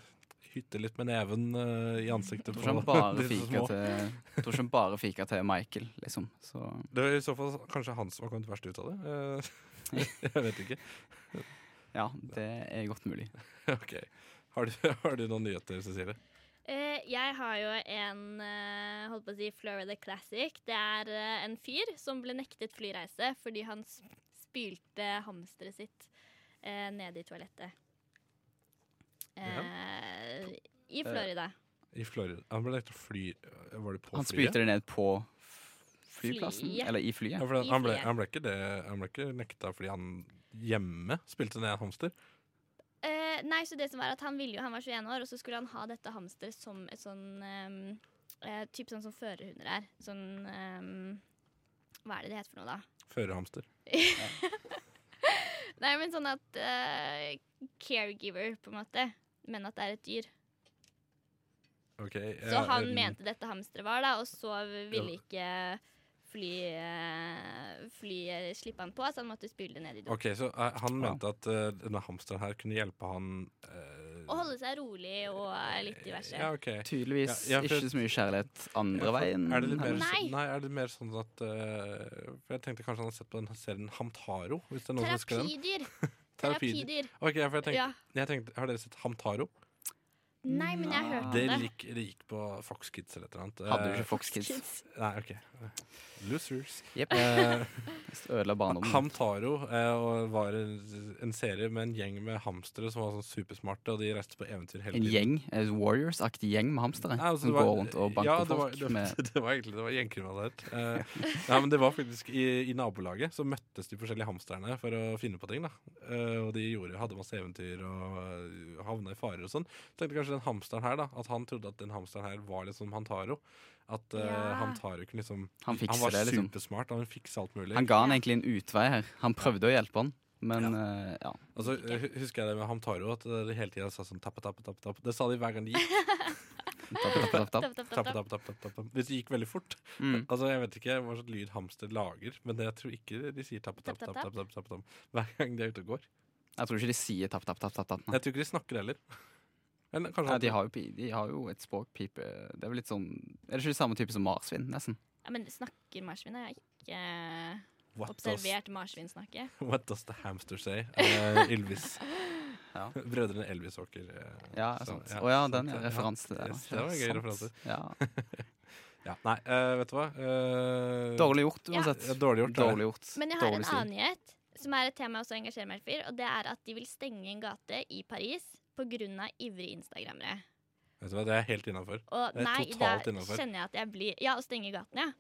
C: hytte litt med neven eh, i ansiktet på
D: Jeg tror ikke han bare
C: disse
D: fika
C: små.
D: til, jeg tror ikke han bare fika til Michael, liksom. Så
C: Det var i så fall kanskje han som har kommet verst ut av det. Eh, jeg vet ikke.
D: ja, det er godt mulig.
C: Ok. Har du, har du noen nyheter, Cecilie?
A: Eh, jeg har jo en eh, holdt på å si Florida Classic. Det er eh, en fyr som ble nektet flyreise fordi han s- spylte hamsteret sitt eh, ned i toalettet. Eh, I Florida.
C: I Florida Han ble nektet å fly eh, Var det på
D: Han
C: flyet?
D: spylte det ned på f- flyplassen?
A: Flyet.
D: Eller i
C: Ja,
D: flyet?
C: for han,
A: I
C: han, ble,
A: flyet.
C: han, ble ikke det, han ble ikke nekta fordi han hjemme spilte ned en hamster.
A: Eh, nei, så det som var at han ville jo, han var 21 år, og så skulle han ha dette hamsteret som et sånn ehm, eh, Typ sånn som førerhunder er. Sånn ehm, Hva er det det heter for noe, da?
C: Førerhamster.
A: Nei, men sånn at eh, Caregiver, på en måte. Men at det er et dyr.
C: Okay,
A: Så
C: ja,
A: han
C: en-
A: mente dette hamsteret var, da, og så ville
C: Ja.
A: ikke fly, eh, flyet slippe han på, så han måtte spyle det ned i do.
C: Ok, så eh, han
D: Ja.
C: mente at eh, denne hamsteren her kunne hjelpe han eh,
A: Og holde seg rolig og litt diverse.
C: Ja, ok.
D: Tydeligvis
C: Ja, ja, for-
D: ikke så mye kjærlighet andre
C: Ja, for-
D: veien.
C: Er det litt mer,
D: heller.
A: Nei.
C: sånn- nei, er det mer sånn at eh, For jeg tenkte kanskje han har sett på den serien Hamtaro. Hvis det er noen som husker den.
A: Terapidyr.
C: Terapi-
A: Terapidyr.
C: Ok, for jeg tenkte,
A: Ja.
C: jeg tenkte, Har dere sett Hamtaro?
A: Nei, men jeg har hørt om
C: Det
A: det.
C: gikk, det gikk på Fox Kids eller et eller annet.
D: Hadde jo
C: Eh,
D: ikke Fox Kids.
C: Nei, ok. Losers.
D: Jepp.
C: Eh,
D: Ødela barndommen.
C: Hamtaro eh, og var en, en serie med en gjeng med hamstere som var sånn supersmarte, og de reiste på eventyr hele
D: en
C: tiden.
D: gjeng, en Warriors-aktig gjeng med hamstere
C: Nei, altså,
D: som
C: det var-
D: går rundt og banker
C: ja, det var,
D: folk
C: det, var-
D: med
C: det var egentlig det var gjengkriminalitet. Eh, nei, men det var faktisk i, I nabolaget så møttes de forskjellige hamsterne for å finne på ting. da Eh, Og de gjorde, hadde masse eventyr og eh, havna i farer og sånn. Tenkte kanskje den hamsteren her da At han trodde at den hamsteren her var litt som Hantaro. At eh,
A: Ja.
C: Hantaro kunne liksom
D: Han
C: Han
D: fikser
C: var
D: det, liksom.
C: supersmart, han fiksa alt mulig.
D: Han ga han egentlig en utvei her. Han prøvde å hjelpe han, men eh, ja.
C: Og så eh, hu- husker jeg det med Hamtaro, at de hele tida sa sånn tappe, tappe, tappe, tappe. Det sa de hver gang de gikk.
D: Tapp, tapp, tapp, tapp.
A: Tapp, tapp, tapp,
C: Tappe,
A: tapp.
C: tappe, tappe, tappe, tappe. Hvis de gikk veldig fort.
D: Mm.
C: Altså, Jeg vet ikke hva slags lyd hamster lager, men det, jeg tror ikke de sier tappe, tappe,
A: Tapp,
C: tappe,
A: tapp,
C: tappe, tappe, tappe, tappe. hver gang de er ute og
A: Mm.
C: går.
D: Jeg tror ikke de sier tapp, tapp, tapp. tapp, tapp. Nei.
C: Jeg tror ikke de snakker heller. Eller kanskje
D: Ja, de, har jo, pi- de har jo et språkpipe Det er vel litt sånn Er det ikke det samme type som marsvin, nesten?
A: Ja, men snakker marsvin? Jeg har ikke eh,
C: what does,
A: observert marsvin snakke.
C: what does the hamster say? Eh, Ylvis.
D: Ja.
C: Brødrene eh, Elvis-Åker.
D: Ja, sant. Å ja, den er referanse til det.
C: Yes, det var en gøy
D: Sant.
C: referanse.
D: Ja.
C: Ja, nei, eh, vet du hva? Eh,
D: Dårlig gjort,
A: Ja.
D: uansett.
C: ja, dårlig gjort. det.
D: Dårlig gjort.
A: Men jeg har
D: Dårlig
A: en
D: stil.
A: annen nyhet, som er et tema jeg også engasjerer meg for. Og det er at de vil stenge en gate i Paris pga. ivrige instagrammere.
C: Vet du hva, Det er helt innafor.
A: Og
C: Det er
A: nei,
C: totalt
A: da
C: innenfor.
A: kjenner jeg at jeg blir Ja, å stenge gatene,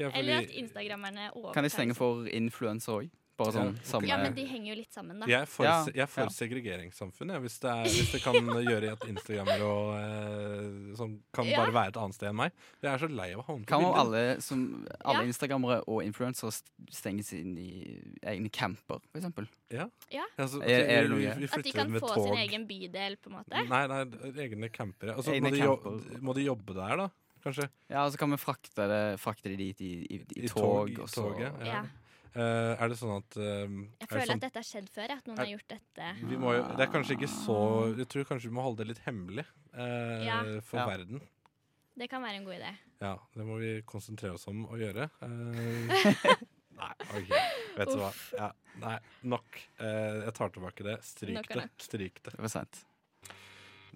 A: ja. Eller at instagrammerne overtar
D: Kan de stenge for influenser òg? Bare sånn
C: Ja, ok.
D: samme
A: Ja, men de henger jo litt sammen, da.
C: Jeg er for,
D: Ja,
C: jeg er for
D: ja.
C: segregeringssamfunn, jeg, hvis, det er, hvis det kan gjøre at Instagrammer og eh, som kan
A: Ja.
C: bare være et annet sted enn meg. Jeg er så lei av å havne på
D: Kan jo
C: bilder.
D: alle, som, alle
A: Ja.
D: instagrammere og influensere st- stenges inn i egne camper, for eksempel?
C: Altså,
D: Er- er det noe
C: vi- vi
D: gøy?
A: At de
C: flytter
A: kan
C: med
A: få
C: tog.
A: sin egen bydel, på en måte.
C: Nei, nei, egne campere. Altså,
D: Egne
C: må, de jo,
D: camper.
C: må de jobbe der, da? Kanskje?
D: Ja, og så kan vi frakte det, frakte de dit i, i, i,
C: I
D: tog,
C: tog- i
D: og så
C: toget, ja.
A: Ja.
C: Eh, er det sånn at eh,
A: Jeg
C: er det
A: føler
C: sånn,
A: at dette har skjedd før, ja, at noen
C: Er-
A: har gjort dette.
C: vi må jo, Det er kanskje ikke så Jeg tror kanskje vi må holde det litt hemmelig eh,
A: Ja.
C: for
D: Ja.
C: verden.
A: Det kan være en god idé.
C: Ja, det må vi konsentrere oss om å gjøre. Eh, nei, ok. Vet du hva. Ja, nei, nok. Eh, jeg tar tilbake det.
A: Nok
C: Stryk
A: er
C: det.
A: nok.
C: Stryk det.
D: Det var sent.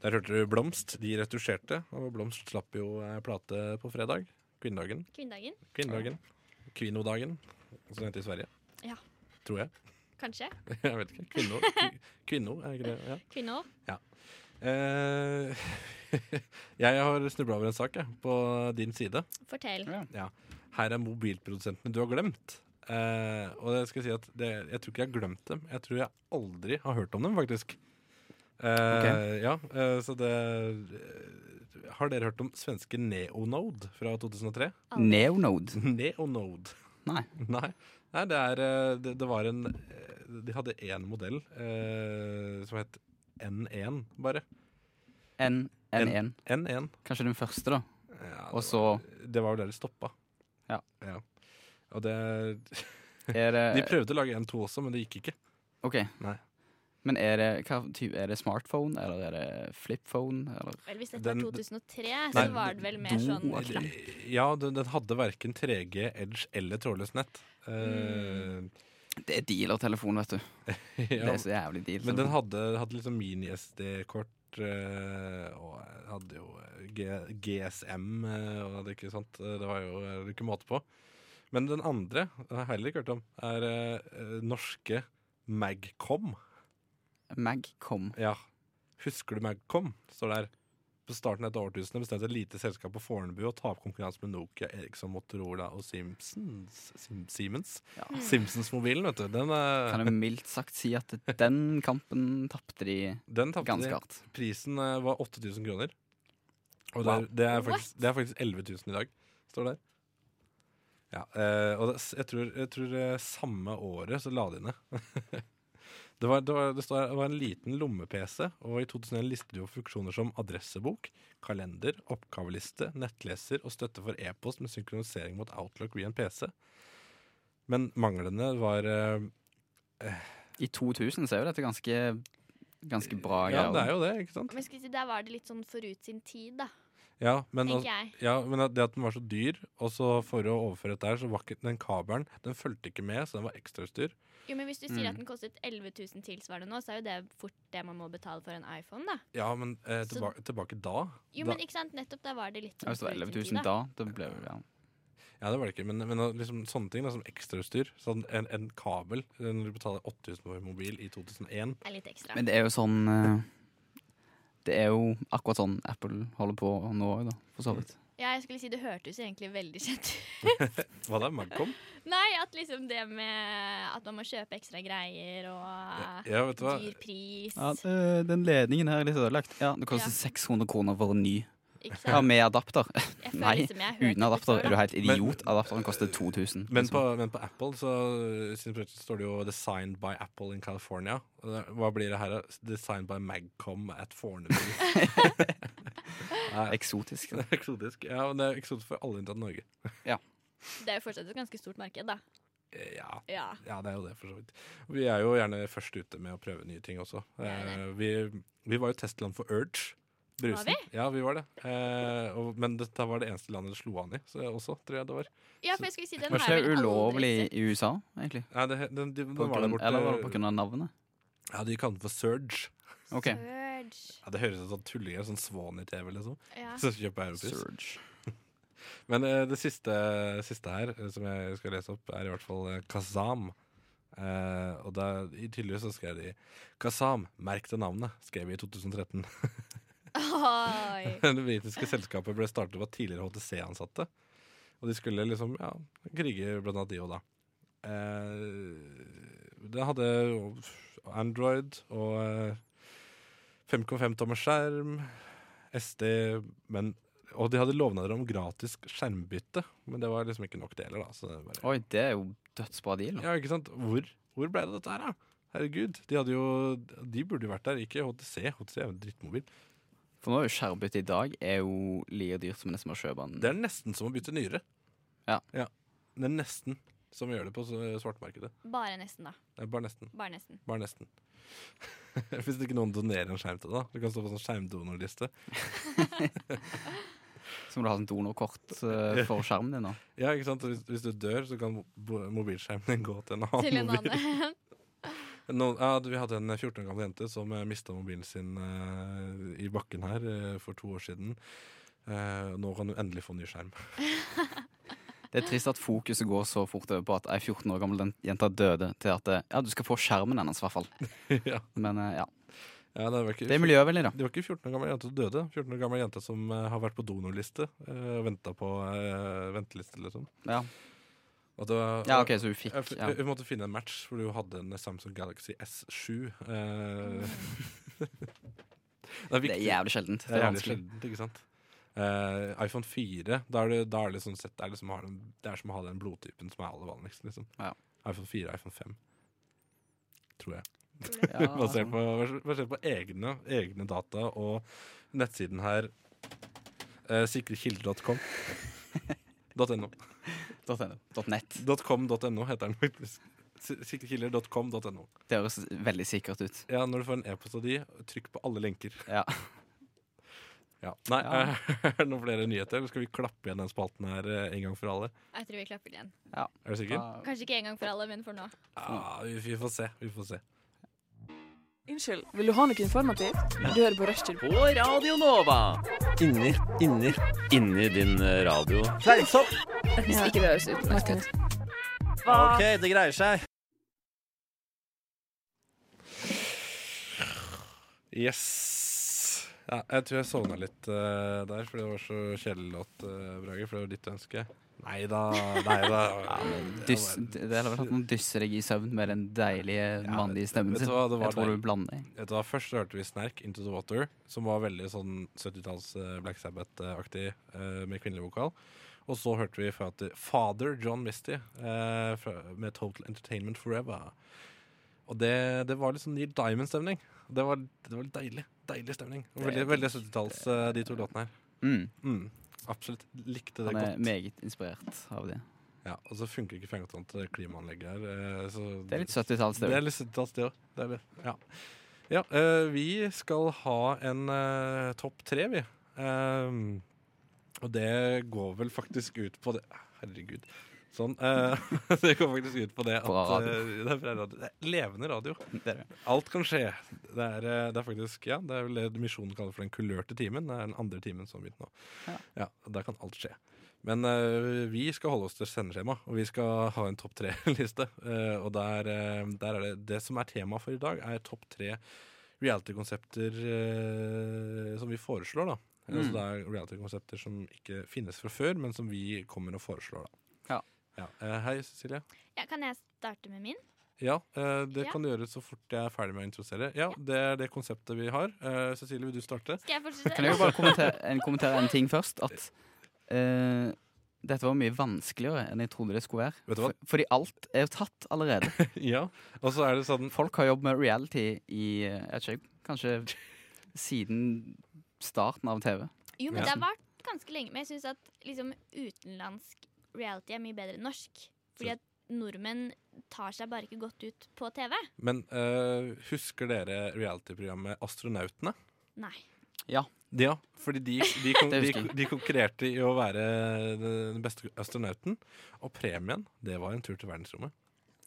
C: Der hørte du Blomst. De retusjerte. Og Blomst slapp jo eh, plate på fredag. Kvinnedagen.
A: Kvinnedagen,
C: Kvinnedagen. Kvinnodagen, som det heter i Sverige.
A: Ja.
C: Tror jeg.
A: kanskje.
C: Jeg vet ikke. Kvinno, kvi- kvinno er ikke det? Ja.
A: Kvinner.
C: Eh, jeg har snubla over en sak jeg, på din side.
A: Fortell.
C: Her er mobilprodusentene du har glemt. Eh, og det skal jeg si at det, jeg tror ikke jeg har glemt dem. Jeg tror jeg aldri har hørt om dem, faktisk. Eh,
D: Ok.
C: Ja, eh, så det eh, Har dere hørt om svenske Neonode fra 2003?
A: Aldri.
D: Neonode.
C: Neonode.
D: Nei.
C: Nei, Nei det, er, eh, det, det var en eh, De hadde én modell eh, som het N1, bare.
D: N- N1.
C: N1.
D: Kanskje den første, da.
C: Ja,
D: Og
C: det,
D: så
C: var, det var jo der de stoppa.
D: Ja.
C: Og det
D: er
C: De
D: det Eh.
C: prøvde å lage N2 også, men det gikk ikke.
D: OK.
C: Nei.
D: Men er det, hva type, er det smartphone, eller er det flipphone? Eller?
A: Vel, hvis dette var
C: Den-
A: 2003,
C: Nei,
A: så var det vel mer
D: do-
A: sånn
D: og slapp.
C: Ja, den, den hadde verken 3G, Edge eller trådløst nett. Eh,
D: Det er dealertelefon, vet du. Mm. Det
C: ja,
D: er så jævlig deal.
C: men den hadde, hadde liksom mini-SD-kort. eh, og hadde jo G GSM eh, og hadde ikke sant eh, Det var jo eh, ikke måte på. Men den andre jeg har heller ikke hørt om, er eh, norske Magcom.
D: Magcom.
C: Ja. Husker du Magcom? Står der. På starten av dette årtusenet bestemte et lite selskap på Fornebu å ta opp konkurranse med Nokia, Eriksson, Motorola og Simpsons. Sim Siemens.
D: Ja.
C: Simpsons-mobilen, vet du. Den, eh,
D: Mm. Kan jeg mildt sagt si at den kampen tapte de
C: den tapte
D: ganske
C: de.
D: hardt.
C: Prisen eh, var 8000 kroner. Og det
D: Wow.
C: er, det, er
A: What?
C: faktisk, det er faktisk 11 000 i dag, står det der. Ja, eh, og det, jeg tror, jeg tror eh, samme året så la de ned. det, var, det, var, det, står, her, det var en liten lomme-PC, og i 2001 listet de opp funksjoner som adressebok, kalender, oppgaveliste, nettleser og støtte for e-post med synkronisering mot Outlook via en PC. Men manglene var eh,
D: I 2000 så er jo dette ganske, ganske bra
C: Ja, det
D: greier.
C: er jo det, ikke sant?
A: Men skulle si, Der var det litt sånn forut sin tid, da,
C: Ja, men altså-
A: tenker jeg.
C: Ja, men at- det at den var så dyr, og så for å overføre dette her, så var ikke den kabelen Den fulgte ikke med, så den var ekstrautstyr.
A: Jo, men Hvis du sier
D: Mm.
A: at den kostet 11 000 tilsvarende nå, så er jo det fort det man må betale for en iPhone, da.
C: Ja, men eh,
A: Så-
C: tilbake, tilbake da
A: Jo,
C: Da-
A: men ikke sant, nettopp da var det litt sånn
D: Ja, Hvis det var
A: forut
D: 11
A: sin tid,
D: 000 da, da ble det ja.
C: Ja, det var det ikke, men, men liksom sånne ting da, som ekstrautstyr. Sånn en, en kabel eh, Når du betaler 8000 for en mobil i 2001
A: Det er litt ekstra.
D: Men det er jo sånn eh, Det er jo akkurat sånn Apple holder på nå òg, da, for så vidt.
A: Ja, jeg skulle si Det hørtes egentlig veldig kjent ut.
C: Hva da? Magcom?
A: Nei, at liksom det med at man må kjøpe ekstra greier og eh,
C: Ja, vet du hva?
A: Ah, dyr pris
D: den ledningen her er litt ødelagt. Ja, Det koster
A: Ja.
D: 600 kroner for en ny.
A: ikke
D: Ja,
A: sant?
D: Med adapter.
A: Jeg føler
D: nei,
A: liksom jeg har hørt
D: Uten
A: det
D: adapter
A: før,
D: er du
A: da.
D: helt idiot. Adapteren koster 2000.
C: Men på,
D: liksom.
C: men på Apple så eh, sin prosjekt står det jo 'Designed by Apple in California'. Og det- Hva blir det her? da? 'Designed by Magcom at Fornebu'.
D: Eksotisk.
C: Det er Eksotisk. Ja, men det er eksotisk for alle unntatt Norge.
A: Det er jo fortsatt et ganske stort marked, da.
C: Eh, Ja,
A: Ja.
C: Ja, det er jo det, for så vidt. Vi er jo gjerne først ute med å prøve nye ting også.
A: Det er det.
C: Eh, vi, vi var jo testland for Urge. Brusen.
A: vi?
C: Ja, vi var det. Eh, og, men dette var det eneste landet det slo an i så, også, tror jeg det var.
A: ja, for jeg skulle si den
D: Var
A: har
D: ikke
A: jeg
D: det
A: vel
D: ulovlig
A: aldri sett.
D: i USA, egentlig?
C: Nei, det, den, de, den
D: På
C: var der
D: grunn,
C: borte.
D: eller var det pga. navnet?
C: Ja, de kalte den for Surge.
D: Ok,
A: Surge.
C: Ja, det høres ut som tullinger, sånn svan i TV, liksom.
A: Ja.
C: Så kjøper jeg Europris.
D: Surge.
C: Men eh, det siste, siste her, eh, som jeg skal lese opp, er i hvert fall eh, Kazam. Eh, og da, i tydeligvis så skrev de Kazam, merk det navnet, skrev vi i 2013.
A: Oi.
C: Det britiske selskapet ble startet av tidligere HTC-ansatte. Og de skulle liksom ja, krige blant annet de og da. Eh, det hadde jo Android og eh, 5,5 tommer skjerm, SD men, Og de hadde lovnader om gratis skjermbytte, men det var liksom ikke nok deler, da. Så det bare,
D: Oi, det er jo dødsbra deal.
C: ja, ikke sant? Hvor, hvor ble det dette her, da? Herregud, de, hadde jo, de burde jo vært der, ikke HTC. HTC er jo en drittmobil.
D: For nå er jo skjermbytte i dag er jo like dyrt som nesten å kjøpe
C: Det
D: en
C: er nesten som å bytte nyre.
D: Ja.
C: Det er nesten som gjør det på s- svartmarkedet.
A: Bare nesten, da.
C: Det er bare nesten.
A: Bare nesten.
C: Bare nesten. Hvis det ikke noen donerer en skjerm til deg, da. Du kan stå på sånn skjermdonorliste.
D: Så må du ha sånn donorkort eh, for skjermen din. da
C: Ja, ikke sant? Og Hvis, hvis du dør, så kan bo- mobilskjermen din gå til en annen
A: Til en
C: mobil.
A: annen.
C: Noen, ja, du, vi hadde en 14 år gammel jente som mista mobilen sin eh, i bakken her eh, for to år siden. Eh, nå kan du endelig få ny skjerm.
D: Det er trist at fokuset går så fort over på at ei 14 år gammel den- jente døde, til at eh, ja, du skal få skjermen hennes, i hvert fall.
C: ja.
D: Men eh, ja.
C: Ja, det, var ikke,
D: Det er miljøvennlig, da.
C: Det var ikke 14 år gammel jente som døde. 14 år gammel jente som eh, har vært på donorliste eh, og venta på eh, venteliste, liksom.
D: Ja,
C: Og det var,
D: ja OK, så hun fikk
C: Jeg, f-
D: ja.
C: jeg måtte finne en match hvor du hadde en Samsung Galaxy S7. eh. det er
D: Det er
C: viktig.
D: jævlig sjeldent.
C: Det er jævlig
D: vanskelig.
C: sjeldent, ikke sant? Eh, iPhone 4, da er det, da er det sånn sett, det er, liksom, å ha den- det er som å ha den blodtypen som er aller vanligst, liksom.
D: Ja.
C: iPhone 4 iPhone 5. Tror jeg.
D: Ja.
C: Basert på, basert på egne, egne data og nettsiden her eh, sikrekilder.com. .no.
D: .no. .net.
C: .com.no heter den faktisk. Siktekiller.com.no.
D: Det høres veldig sikkert ut.
C: Ja, når du får en e-post av de, trykk på alle lenker.
D: Ja.
C: Ja. Nei,
D: Ja.
C: er det noen flere nyheter? Eller skal vi klappe igjen den spalten her eh, en gang for alle?
A: Jeg tror vi klapper igjen.
C: Er du sikker?
D: Da-
A: Kanskje ikke en gang for alle, men for nå.
C: Ja, vi, vi får se. Vi får se.
E: Unnskyld, vil du ha noe informativt? Du hører på Rushtid.
H: På Radio Nova.
I: Inni, inni, inni din eh, radio. Fleisopp!
E: Hvis ikke det høres utenlandsk ut.
I: OK, det greier seg.
C: Yes. Ja, jeg tror jeg sovna litt eh, der, fordi det var så kjedelig låt, eh, Brage. For det var ditt ønske. Nei da, nei da.
D: Dyss, det hadde vært at man dysser deg i søvn med den deilige
C: Ja,
D: mannlige stemmen
C: vet du
D: sin.
C: hva, det var
D: Jeg tror
C: deilig.
D: du blander.
C: Vet du hva, Først så hørte vi Snerk, 'Into the Water', som var veldig sånn 70-talls eh, Black Sabbath-aktig eh, med kvinnelig vokal. Og så hørte vi Fat- Father John Misty eh, fra, med 'Total Entertainment Forever'. Og det, det var litt sånn Neil Diamond-stemning. Det var, det var litt deilig. Deilig stemning. Og Veldig, veldig 70-talls, eh, de to låtene her.
D: Mm.
C: Mm, absolutt. Likte det
D: Han er
C: godt.
D: meget inspirert av det.
C: Ja, og så funker ikke fengotant klimaanlegget her. eh, Så
D: Det er litt 70-talls, det
C: det er
D: òg.
C: litt søtt, det også. Det er det. Ja. ja eh, vi skal ha en eh, topp tre, vi. Ehm, og det går vel faktisk ut på det Herregud. Sånn. eh, det går faktisk ut på det at
D: Bra radio.
C: eh, det, er bra radio. det er levende radio.
D: Det er det.
C: Alt kan skje. Det er, eh, det er faktisk Ja, det er vel det Misjonen kaller for den kulørte timen. Det er den andre timen som begynte nå.
D: Ja.
C: Ja, Der kan alt skje. Men eh, vi skal holde oss til sendeskjema, og vi skal ha en topp tre-liste. Eh, og der, eh, der er det Det som er temaet for i dag, er topp tre reality-konsepter eh, som vi foreslår, da.
D: Mm.
C: Altså det er reality-konsepter som ikke finnes fra før, men som vi kommer og foreslår, da.
D: Ja.
C: Eh, hei, Cecilie.
A: Ja, kan jeg starte med min?
C: Ja, eh, det
A: Ja.
C: kan du gjøre så fort jeg er ferdig med å introdusere. Ja, Det er det konseptet vi har. Eh, Cecilie, vil du starte?
A: Skal jeg fortsette?
D: Kan jeg jo bare kommentere en, kommentere en ting først? At eh, dette var mye vanskeligere enn jeg trodde det skulle være.
C: Vet du hva?
D: For, fordi alt er jo tatt allerede.
C: ja. Og så er det sånn
D: Folk har jobbet med reality i eh, jeg vet ikke, kanskje siden starten av TV.
A: Jo, men
C: Ja.
A: det har vært ganske lenge. Men jeg syns at liksom, utenlandsk reality er mye bedre enn norsk. Fordi at nordmenn tar seg bare ikke godt ut på TV.
C: Men eh, husker dere reality-programmet Astronautene?
A: Nei.
C: Ja, fordi de, de, kon
D: Det
C: de,
D: husker jeg.
C: de konkurrerte i å være den beste astronauten. Og premien, det var en tur til verdensrommet.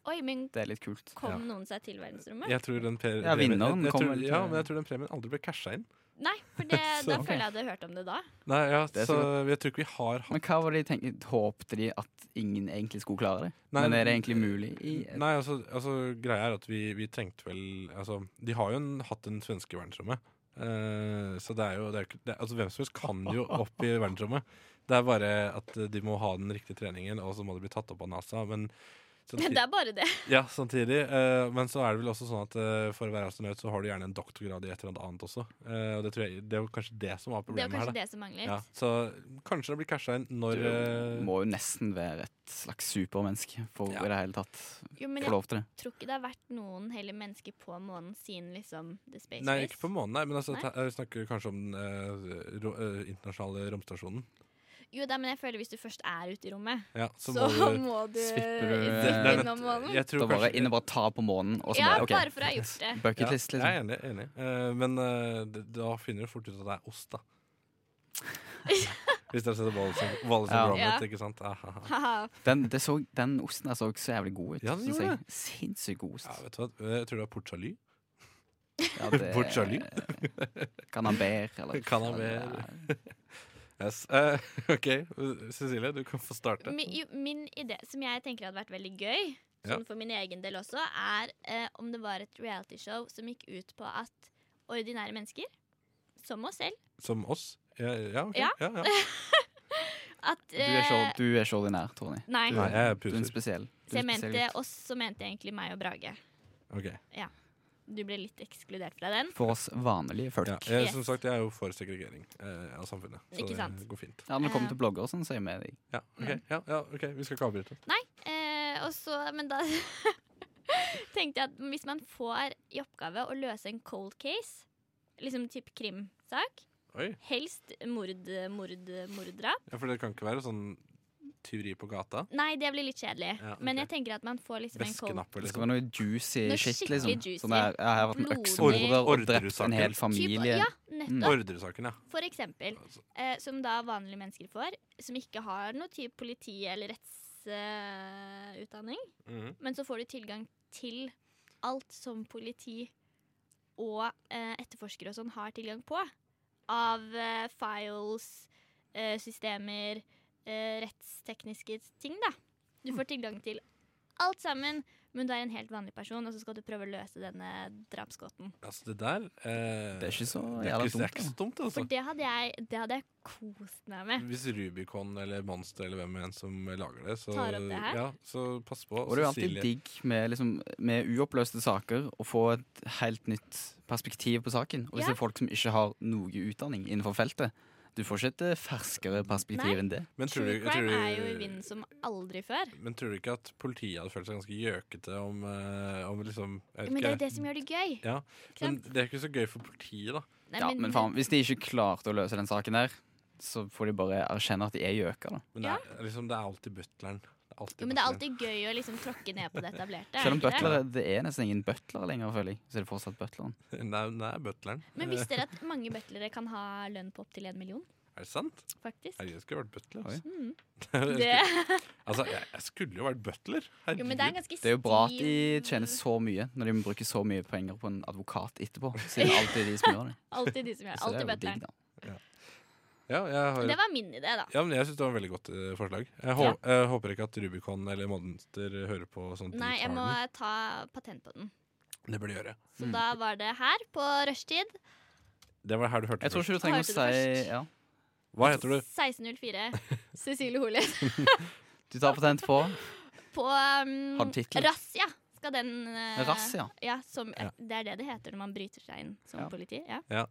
A: Oi, men
D: Det er litt kult.
A: kom
C: Ja.
A: noen seg til verdensrommet?
C: Jeg tror den per-
D: Ja,
C: premien-
D: vinneren
C: jeg, jeg
D: kom
C: tror,
D: vel til-
C: Ja, men jeg tror den premien aldri ble casha inn.
A: Nei, for det, da
D: Så-
A: føler jeg jeg hadde hørt om det da.
C: Nei, ja,
D: er
C: så, jeg tror ikke vi har hatt
D: Men hva var det de tenkte? Håpte de at ingen egentlig skulle klare det?
C: Nei,
D: Men er det egentlig mulig? I,
C: Nei, altså, altså greia er at vi, vi trengte vel altså, De har jo en, hatt en svenske i verdensrommet. Eh, så det er jo det er, ikke- det, altså, Hvem som helst kan jo opp i verdensrommet. Det er bare at eh, de må ha den riktige treningen, og så må de bli tatt opp av NASA. Men samtidig,
A: Det er bare det.
C: ja, samtidig eh, Men så er det vel også sånn at eh, for å være astronaut så har du gjerne en doktorgrad i et eller annet annet også. Eh, og det, tror jeg, det er jo kanskje det som var
A: Det er
C: problemet
A: kanskje
C: her. Da.
A: det som mangler.
C: Ja, så kanskje det blir casha inn når eh,
D: Du må jo nesten være et slags supermenneske for
C: Ja.
D: i det hele tatt
A: Jo, men
D: få
A: jeg
D: lov til det.
A: tror ikke det har vært noen heller mennesker på månen siden liksom The Space
C: Nei,
A: Race.
C: ikke på månen, nei, men altså,
A: Nei?
C: ta- jeg snakker kanskje om den eh, ro, eh, internasjonale romstasjonen.
A: Jo, da, men jeg føler hvis du først er ute i rommet,
C: Ja, så
A: så,
C: må du
A: må du
D: Slipper du-
A: ikke
D: Det- det er
A: innom månen.
C: jeg tror
D: Da bare
C: kanskje-
D: inn og bare ta på månen, og så
A: Ja,
D: bare OK.
A: bare for å ha gjort det.
C: ja,
D: Bucketlist,
C: Jeg er
D: liksom.
C: enig. enig. Eh, men eh, d- da finner du fort ut at det er ost, da. Hvis dere setter Wallis and Wallis and
D: Ja.
C: Gromit,
A: Ja.
C: ikke sant? Ah, Ahaha.
A: Haha.
D: Den, det så, den osten der så så jævlig god ut.
C: Ja, den
D: synes
C: gjorde
D: jeg. Sinnssykt god ost.
C: Ja, vet du hva? Eh, Jeg tror det er port salut.
D: Ja, det-
C: Bortsett
D: Canaber, eller
C: Canaber. Yes. Eh, OK, Cecilie, du kan få starte.
A: Mi, jo, min idé, som jeg tenker hadde vært veldig gøy, sånn for min egen del også, er eh, om det var et realityshow som gikk ut på at ordinære mennesker, som oss selv
C: Som oss. Ja, ja, ok.
A: Ja.
C: ja, ja.
A: at,
D: Du er, så,
A: eh,
D: du er så ordinær, Tony.
A: Nei.
C: Nei, jeg er
D: Du er en
C: puser.
D: spesiell. Du
A: Så
D: er en
A: jeg
D: spesiell
A: mente
D: gutt.
A: oss, så mente jeg egentlig meg og Brage.
C: Ok.
A: Du ble litt ekskludert fra den.
D: For oss vanlige folk.
C: Ja,
D: Ja,
C: jeg,
A: Yes.
C: som sagt, jeg er jo for segregering eh, av samfunnet. Så
A: Ikke sant.
C: det går fint.
D: Når det kommer til blogger og sånn, så er jeg med deg.
C: Ja, ok, ja, ja, ok, vi skal ikke avbryte.
A: Eh, og så, men da tenkte jeg at hvis man får i oppgave å løse en cold case, liksom type krimsak,
C: Oi,
A: helst mord, mord, morddrap
C: ja, For det kan ikke være sånn tyveri på gata.
A: Nei, det blir litt kjedelig.
C: Ja, ok.
A: Men jeg tenker at man får liksom en cold
C: Veskenappet,
D: Det skal
C: liksom.
D: være noe juicy
A: Noe
D: shit,
A: skikkelig
D: liksom.
A: juicy.
D: Sånn der, jeg har vært en
A: Blodig.
D: øksemorder og
C: Ordre-
D: drept en hel
C: ordresaker.
A: type.
D: familie.
A: Ja,
C: Mm.
A: nettopp.
C: Ordresaken, ja.
A: For eksempel.
C: Altså,
A: Eh, som da vanlige mennesker får, som ikke har noe type politi- eller rettsutdanning.
C: mhm.
A: Men så får du tilgang til alt som politi og eh, etterforskere og sånn har tilgang på. Av eh, files, eh, systemer, eh, rettstekniske ting, da. Du får tilgang til alt sammen, men du er en helt vanlig person, og så skal du prøve å løse denne drapsgåten.
C: Altså, det der eh,
D: Det er ikke så
C: det er
D: jævla
C: ikke- Det er ikke
D: dumt,
C: så dumt, altså.
A: For det hadde jeg, det hadde jeg kost meg med.
C: Hvis Rubicon eller Monster eller hvem enn som lager det, så,
A: Tar opp det her?
C: ja, så pass på.
D: Og det er jo alltid
C: Cecilie.
D: digg med, liksom, med uoppløste saker å få et helt nytt perspektiv på saken. Og hvis
A: Ja.
D: det er folk som ikke har noe utdanning innenfor feltet, du får ikke et eh, ferskere perspektiv
A: Nei.
D: enn det.
C: Men tror,
A: True
C: du, tror
A: crime er jo i
C: du,
A: vinden som aldri før.
C: men tror du ikke at politiet hadde følt seg ganske gjøkete om, eh, om liksom jeg vet
A: Men det er jo
C: ikke,
A: det som gjør det gøy.
C: Ja,
A: Ikke
C: men
A: sant?
C: det er ikke så gøy for politiet, da.
A: Nei,
D: Ja, men faen, hvis de ikke klarte å løse den saken der, så får de bare erkjenne at de er gjøker, da.
C: Men det er, liksom, det er alltid butleren. Det er alltid
A: Jo, men det er
C: butleren.
A: alltid gøy å liksom tråkke ned på det etablerte. er
D: Selv om
A: det ikke det?
D: butler, det er nesten ingen butler lenger, føler jeg. Så er det fortsatt butleren.
C: Nei, det er butleren.
A: Men
D: Eh.
A: visste dere at mange butlere kan ha lønn på opptil en million?
C: Eh, Er det sant?
A: Faktisk.
C: Herregud, jeg skulle vært butler.
D: Oi.
C: Altså.
A: Mm.
C: Jeg
A: Det,
C: skulle- altså, jeg, jeg skulle jo vært butler.
A: jo, men det er en
C: Herregud.
A: ganske
D: Det er jo bra at de
A: stiv-
D: tjener så mye når de må bruke så mye penger på en advokat etterpå. Siden det er alltid de som gjør det.
A: Alltid de som gjør det.
D: Så det er
A: Alltid
D: jo digg,
A: butleren.
D: da.
C: Ja, jeg har
A: Det var min idé, da.
C: ja, men jeg syns det var et veldig godt eh, forslag. Jeg, hå jeg håper ikke at Rubicon eller Monster hører på sånt.
A: Nei, jeg må ta patent på den.
C: Det burde de gjøre.
A: Så
D: Mm.
A: da var det her, på rushtid.
C: Det var her du hørte
D: Jeg tror
C: det først.
D: ikke du trenger å
A: Hørte du først?
D: si ja.
C: Hva heter du?
A: 1604. Cecilie Holes.
D: Du tar patent på
A: På um,
D: Har du tittel?
A: Razzia skal den eh,
D: Razzia.
A: Ja, som,
C: Ja.
A: Det er det det heter når man bryter seg inn som
D: Ja.
A: politi. Ja.
C: Ja.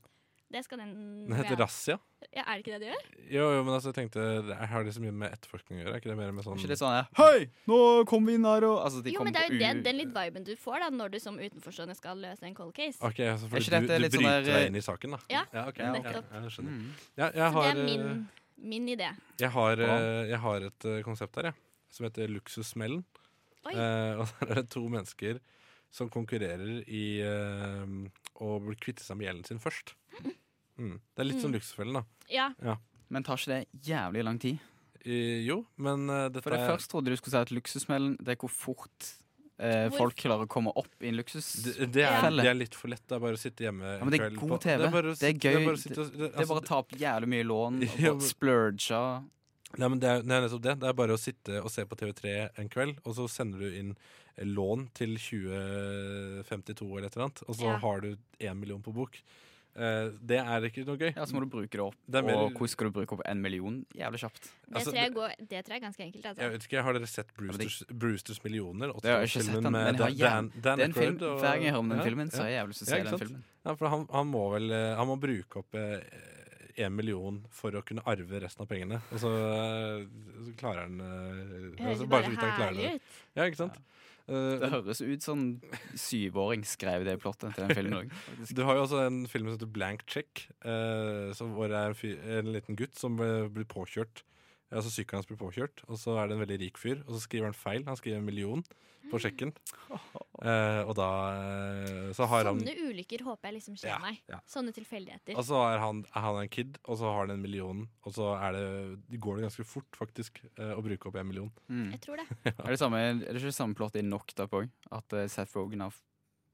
A: Det skal den
C: Den heter Razzia.
A: Mm, ja, Er det ikke det det gjør?
C: Jo, jo, men altså, jeg tenkte det er- Har det så mye med etterforskning å gjøre? Er ikke det mer med sånn
D: Ikke litt sånn her, Hei, nå kommer vi inn her og altså, de
A: Jo,
D: kommer
A: men det er jo
D: på
A: den,
D: u-
A: den litt viben du får da når du som utenforstående skal løse en cold case.
C: Ok, altså, fordi
D: ikke
C: du,
D: dette
C: du
D: litt
C: bryter
D: sånn der, eh,
C: deg inn i saken, da?
A: Ja,
C: ja, ok.
D: Ja,
C: ja,
A: nettopp.
C: ja, jeg skjønner.
D: Mm.
C: Ja, jeg
A: Så det
C: har,
A: er
C: eh,
A: min, min idé.
C: Jeg har,
D: Bra.
C: eh, jeg har et eh, konsept her, jeg, som heter Luksussmellen.
A: Oi.
C: Eh, og der er det to mennesker som konkurrerer i eh, å bli kvitte seg med gjelden sin først. Mm. Det er litt som
A: Mm.
C: Luksusfellen, da.
A: Ja,
D: Men tar ikke det jævlig lang tid?
C: Eh, jo, men eh, dette
D: For jeg
C: er
D: først trodde du skulle si at luksusmellen Det er hvor fort eh,
A: Hvor-
D: folk klarer å komme opp i en luksus
C: det, det, er,
D: Felle.
C: det er litt for lett. Det er bare å sitte hjemme
D: Ja, men det er
C: kvelden
D: god
C: på-
D: TV.
C: Det er, bare å
D: Det
C: sitte-
D: er
C: det
D: gøy.
C: er bare å sitte og- det-
D: Det er
C: altså,
D: bare å ta opp jævlig mye lån og
C: Ja,
D: bare
C: men-
D: splurge
C: Nei, men det er, nei, nettopp det. Det er bare å sitte og se på TV3 en kveld, og så sender du inn eh, lån til 2052 eller et eller annet, og så
A: Ja.
C: har du én million på bok. Eh, det er ikke noe gøy.
D: Ja, så må du bruke det opp
C: Det er mer-
D: Og hvordan skal du bruke opp en million? Jævlig kjapt
A: det,
C: Altså,
A: tror jeg
C: det-
A: går, det tror jeg er ganske enkelt.
C: Jeg
A: Altså.
C: vet ikke, Har dere sett
D: men det-
C: Brewsters, Brewsters millioner?
D: Det har jeg ikke sett
C: Oscar-filmen
D: den, men
C: med
D: jeg har
C: Dan, Dan
D: Det er en film
C: Aykroyd og-
D: Hver gang jeg hører om den
C: Ja,
D: filmen Så
C: ja.
D: har jeg jævlig lyst til å
C: Ja,
D: se
C: ikke
D: den
C: sant?
D: filmen
C: Ja, for han, han må vel eh, Han må bruke opp én million for å kunne arve resten av pengene. Og så, eh, så klarer han eh,
A: Det høres
C: altså,
A: jo
C: Bare
A: bare
C: så vidt han klarer
A: herlig
C: det.
A: ut.
C: Ja, ikke sant? Eh,
D: Det høres ut som syvåring skrev det plottet til den filmen også, faktisk.
C: Du har jo også en film som heter Blank Check, eh, som hvor det er en, fyr, en liten gutt som eh, blir påkjørt. Altså Sykkelen hans blir påkjørt, og så er det en veldig rik fyr. Og så skriver han feil. Han skriver en million
A: Mm.
C: på sjekken. Eh, og da eh, så har han
A: Sånne ulykker håper jeg liksom skjer
C: Ja,
A: meg.
C: ja. Altså-
A: Sånne tilfeldigheter.
C: Og så er han, er han en kid, og så har han en million. Og så er det, går det ganske fort, faktisk, eh, å bruke opp en million.
D: mm.
A: Jeg tror det.
D: Er det, samme, er det ikke samme plott i Knocked Up òg? At eh, Seth Rogen har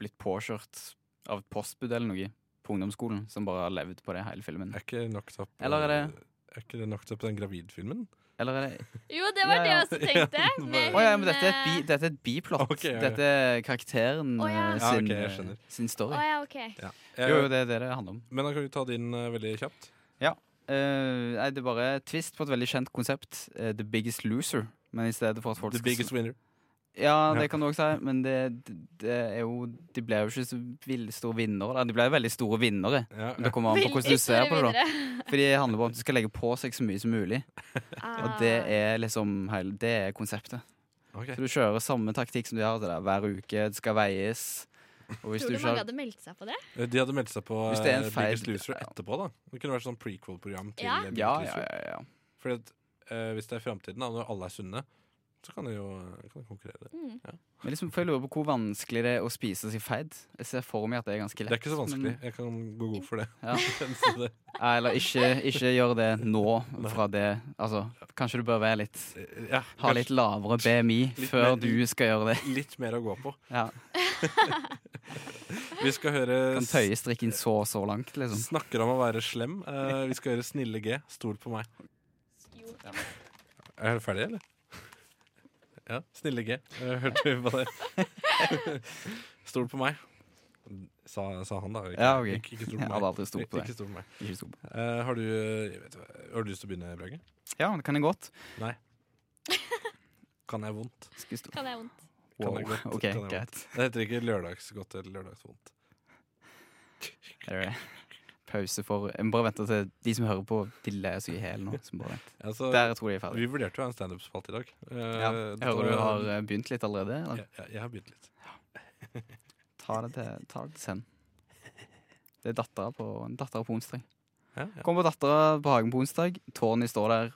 D: blitt påkjørt av et postbud eller noe på ungdomsskolen, som bare har levd på det hele filmen?
C: Er ikke knocked up
D: Eller er det-
C: eh, er ikke det knocked up den gravidfilmen?
D: Eller er det
A: Jo, det var
D: Ja,
A: det
D: ja.
A: jeg også tenkte.
C: Ja,
A: med
D: Å ja, men
A: hun,
D: dette er et, bi,
A: eh,
D: dette er et biplott.
C: Ok, ja, ja.
D: Dette er karakteren
A: Å ja.
D: eh,
C: Ja,
D: sin,
C: ok, jeg
D: eh,
C: skjønner.
D: sin
A: Å
D: story.
A: ja, OK.
C: Eh,
D: Jo, jo, det er det det handler om.
C: Men da kan vi ta din eh, veldig kjapt.
D: Eh, nei, det er bare twist på et veldig kjent konsept. eh, The Biggest Loser. Men i stedet for at folk
C: The
D: skal
C: biggest winner.
D: Ja,
C: Ja.
D: det kan du også si, men det, det er jo De ble jo ikke så vill- store vinnere. da. De ble veldig store vinnere.
C: Ja,
D: Men det kommer an på hvordan du
A: Veldig
D: ser på det. da
A: videre.
D: Fordi det handler bare om at du skal legge på seg så mye som mulig. Og
A: Ah,
D: det er liksom hele, det er konseptet.
C: Ok.
D: Så du kjører samme taktikk som du gjør til det hver uke. Det skal veies. Og hvis
A: Ah,
D: du
A: Tror du
D: ikke
A: mange
D: har
A: hadde meldt seg på det?
C: Eh, De hadde meldt seg på
D: Hvis det er en
C: eh,
D: feil-
C: Biggest Loser
D: ja.
C: etterpå. da Det kunne vært sånn prequel-program til
A: Ja.
C: eh, Biggest
D: ja, ja,
C: Loser.
D: ja, ja.
C: Fordi at eh, hvis det er framtiden, da, når alle er sunne, så kan de jo eh, kan de konkurrere.
A: Mm.
D: Men liksom, for jeg lurer på Hvor vanskelig det er å spise seg feit? Jeg ser for meg at det er ganske lett.
C: Det er ikke så vanskelig.
D: men-
C: Jeg kan gå god for det.
D: Ja.
C: Så det-
D: Nei, Eller ikke, ikke gjør det nå fra det Altså, kanskje du bør være litt
C: ja,
D: ha litt lavere BMI
C: Litt
D: før
C: mer-
D: du skal gjøre det.
C: kanskje litt mer å gå på.
D: Ja.
C: Vi skal høre
D: Kan tøye strikken så så langt, liksom.
C: Snakker om å være slem. Eh, vi skal høre Snille G. Stol på meg. Er du ferdig, eller? Ja. Snille G. Eh, Hørte vi på det? Stol på meg, sa, sa han da. Ikke,
D: Ja, ok.
C: ikke, ikke stol på
D: Jeg
C: meg.
D: hadde aldri stolt på
C: Ikke
D: det.
C: stol på meg.
D: Ikke stol på.
C: Eh, har, du, jeg vet, hva- har du lyst til å begynne, Brage?
D: Ja, det kan jeg godt.
C: Kan jeg vondt?
D: Skal jeg stå-
A: Kan jeg vondt?
D: Wow.
C: Kan jeg godt? Kan
D: OK,
C: jeg
D: greit.
C: vondt? Det heter ikke lørdagsgodt eller lørdagsvondt.
D: Her er det eh, Pause for Jeg må bare vente til de som hører på, de ler seg i hjel nå. Som bare venter.
C: Altså,
D: Der tror jeg de er ferdig.
C: vi vurderte jo å ha en standup-spalt i dag. Eh,
D: Ja.
C: dette
D: Jeg hører du
C: var-
D: har eh, begynt litt allerede.
C: ja,
D: Eller?
C: ja, Jeg har begynt litt.
D: Ta det til, ta det til send. Det er dattera på, datteren på onsdag.
C: Ja, ja.
D: Kom på dattera på Hagen på onsdag. Tony står der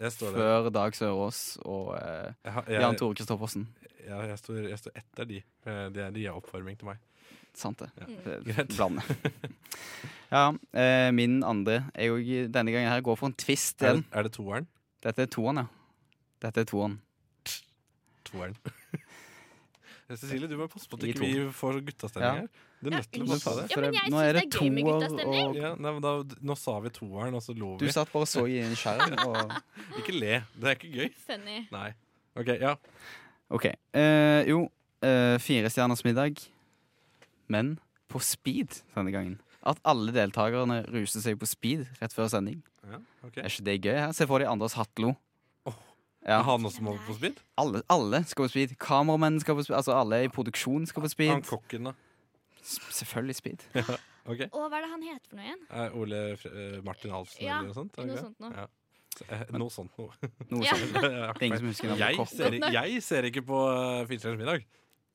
C: Jeg står der.
D: før Dag Sørås og eh,
C: Jeg, har-
D: Jan
C: jeg,
D: Tore Kristoffersen.
C: Ja, jeg står, jeg står etter de. Eh, De er, de er oppvarming til meg.
D: Sant det.
C: Ja.
D: Ja.
C: Greit.
D: Blande. ja, eh, min andre er jo ikke- denne gangen her går for en twist
C: Er det,
D: igjen.
C: er det toeren?
D: Dette er toeren, ja. Dette er toeren.
C: Toeren. Eh, Cecilie, du må passe på at
D: I
C: ikke vi får guttastemning
D: Ja.
C: her. Du er nødt til å passe på det.
A: Ja, men jeg
D: nå
A: synes
D: er det
A: det er gøy med
D: toer
A: guttastemning.
D: og
C: Ja, nei, men da, nå sa vi toeren, og så lo
D: Du
C: vi.
D: satt bare og så i en skjerm og
C: Ikke le. Det er ikke gøy.
A: Funny.
C: Nei. OK, ja.
D: OK. Eh, jo, eh, fire stjerners middag, men på speed denne gangen. At alle deltakerne ruser seg på speed rett før sending.
C: ja ok.
D: Er ikke det gøy? her? Se for deg Anders Hatlo.
C: Åh.
D: Ja,
C: Er han også må på speed?
D: alle, alle skal på speed. Kameramenn skal på speed. Altså Alle i produksjon skal på
C: Han
D: speed.
C: kokken, da.
D: S selvfølgelig speed.
C: OK.
A: Og hva er det han heter for noe igjen?
C: Er Ole Fre eh, Martin Halsen
A: Ja,
C: eller noe sånt? er det
A: noe
C: ikke
A: sånt noe.
C: Ja. Så, eh, Noe sånt noe.
D: Noe
A: Ja.
C: Jeg
D: sånt.
C: har
D: Det er ingen som husker navnet på
C: Jeg
D: kokken.
C: ser, jeg ser ikke på uh, Filterens middag.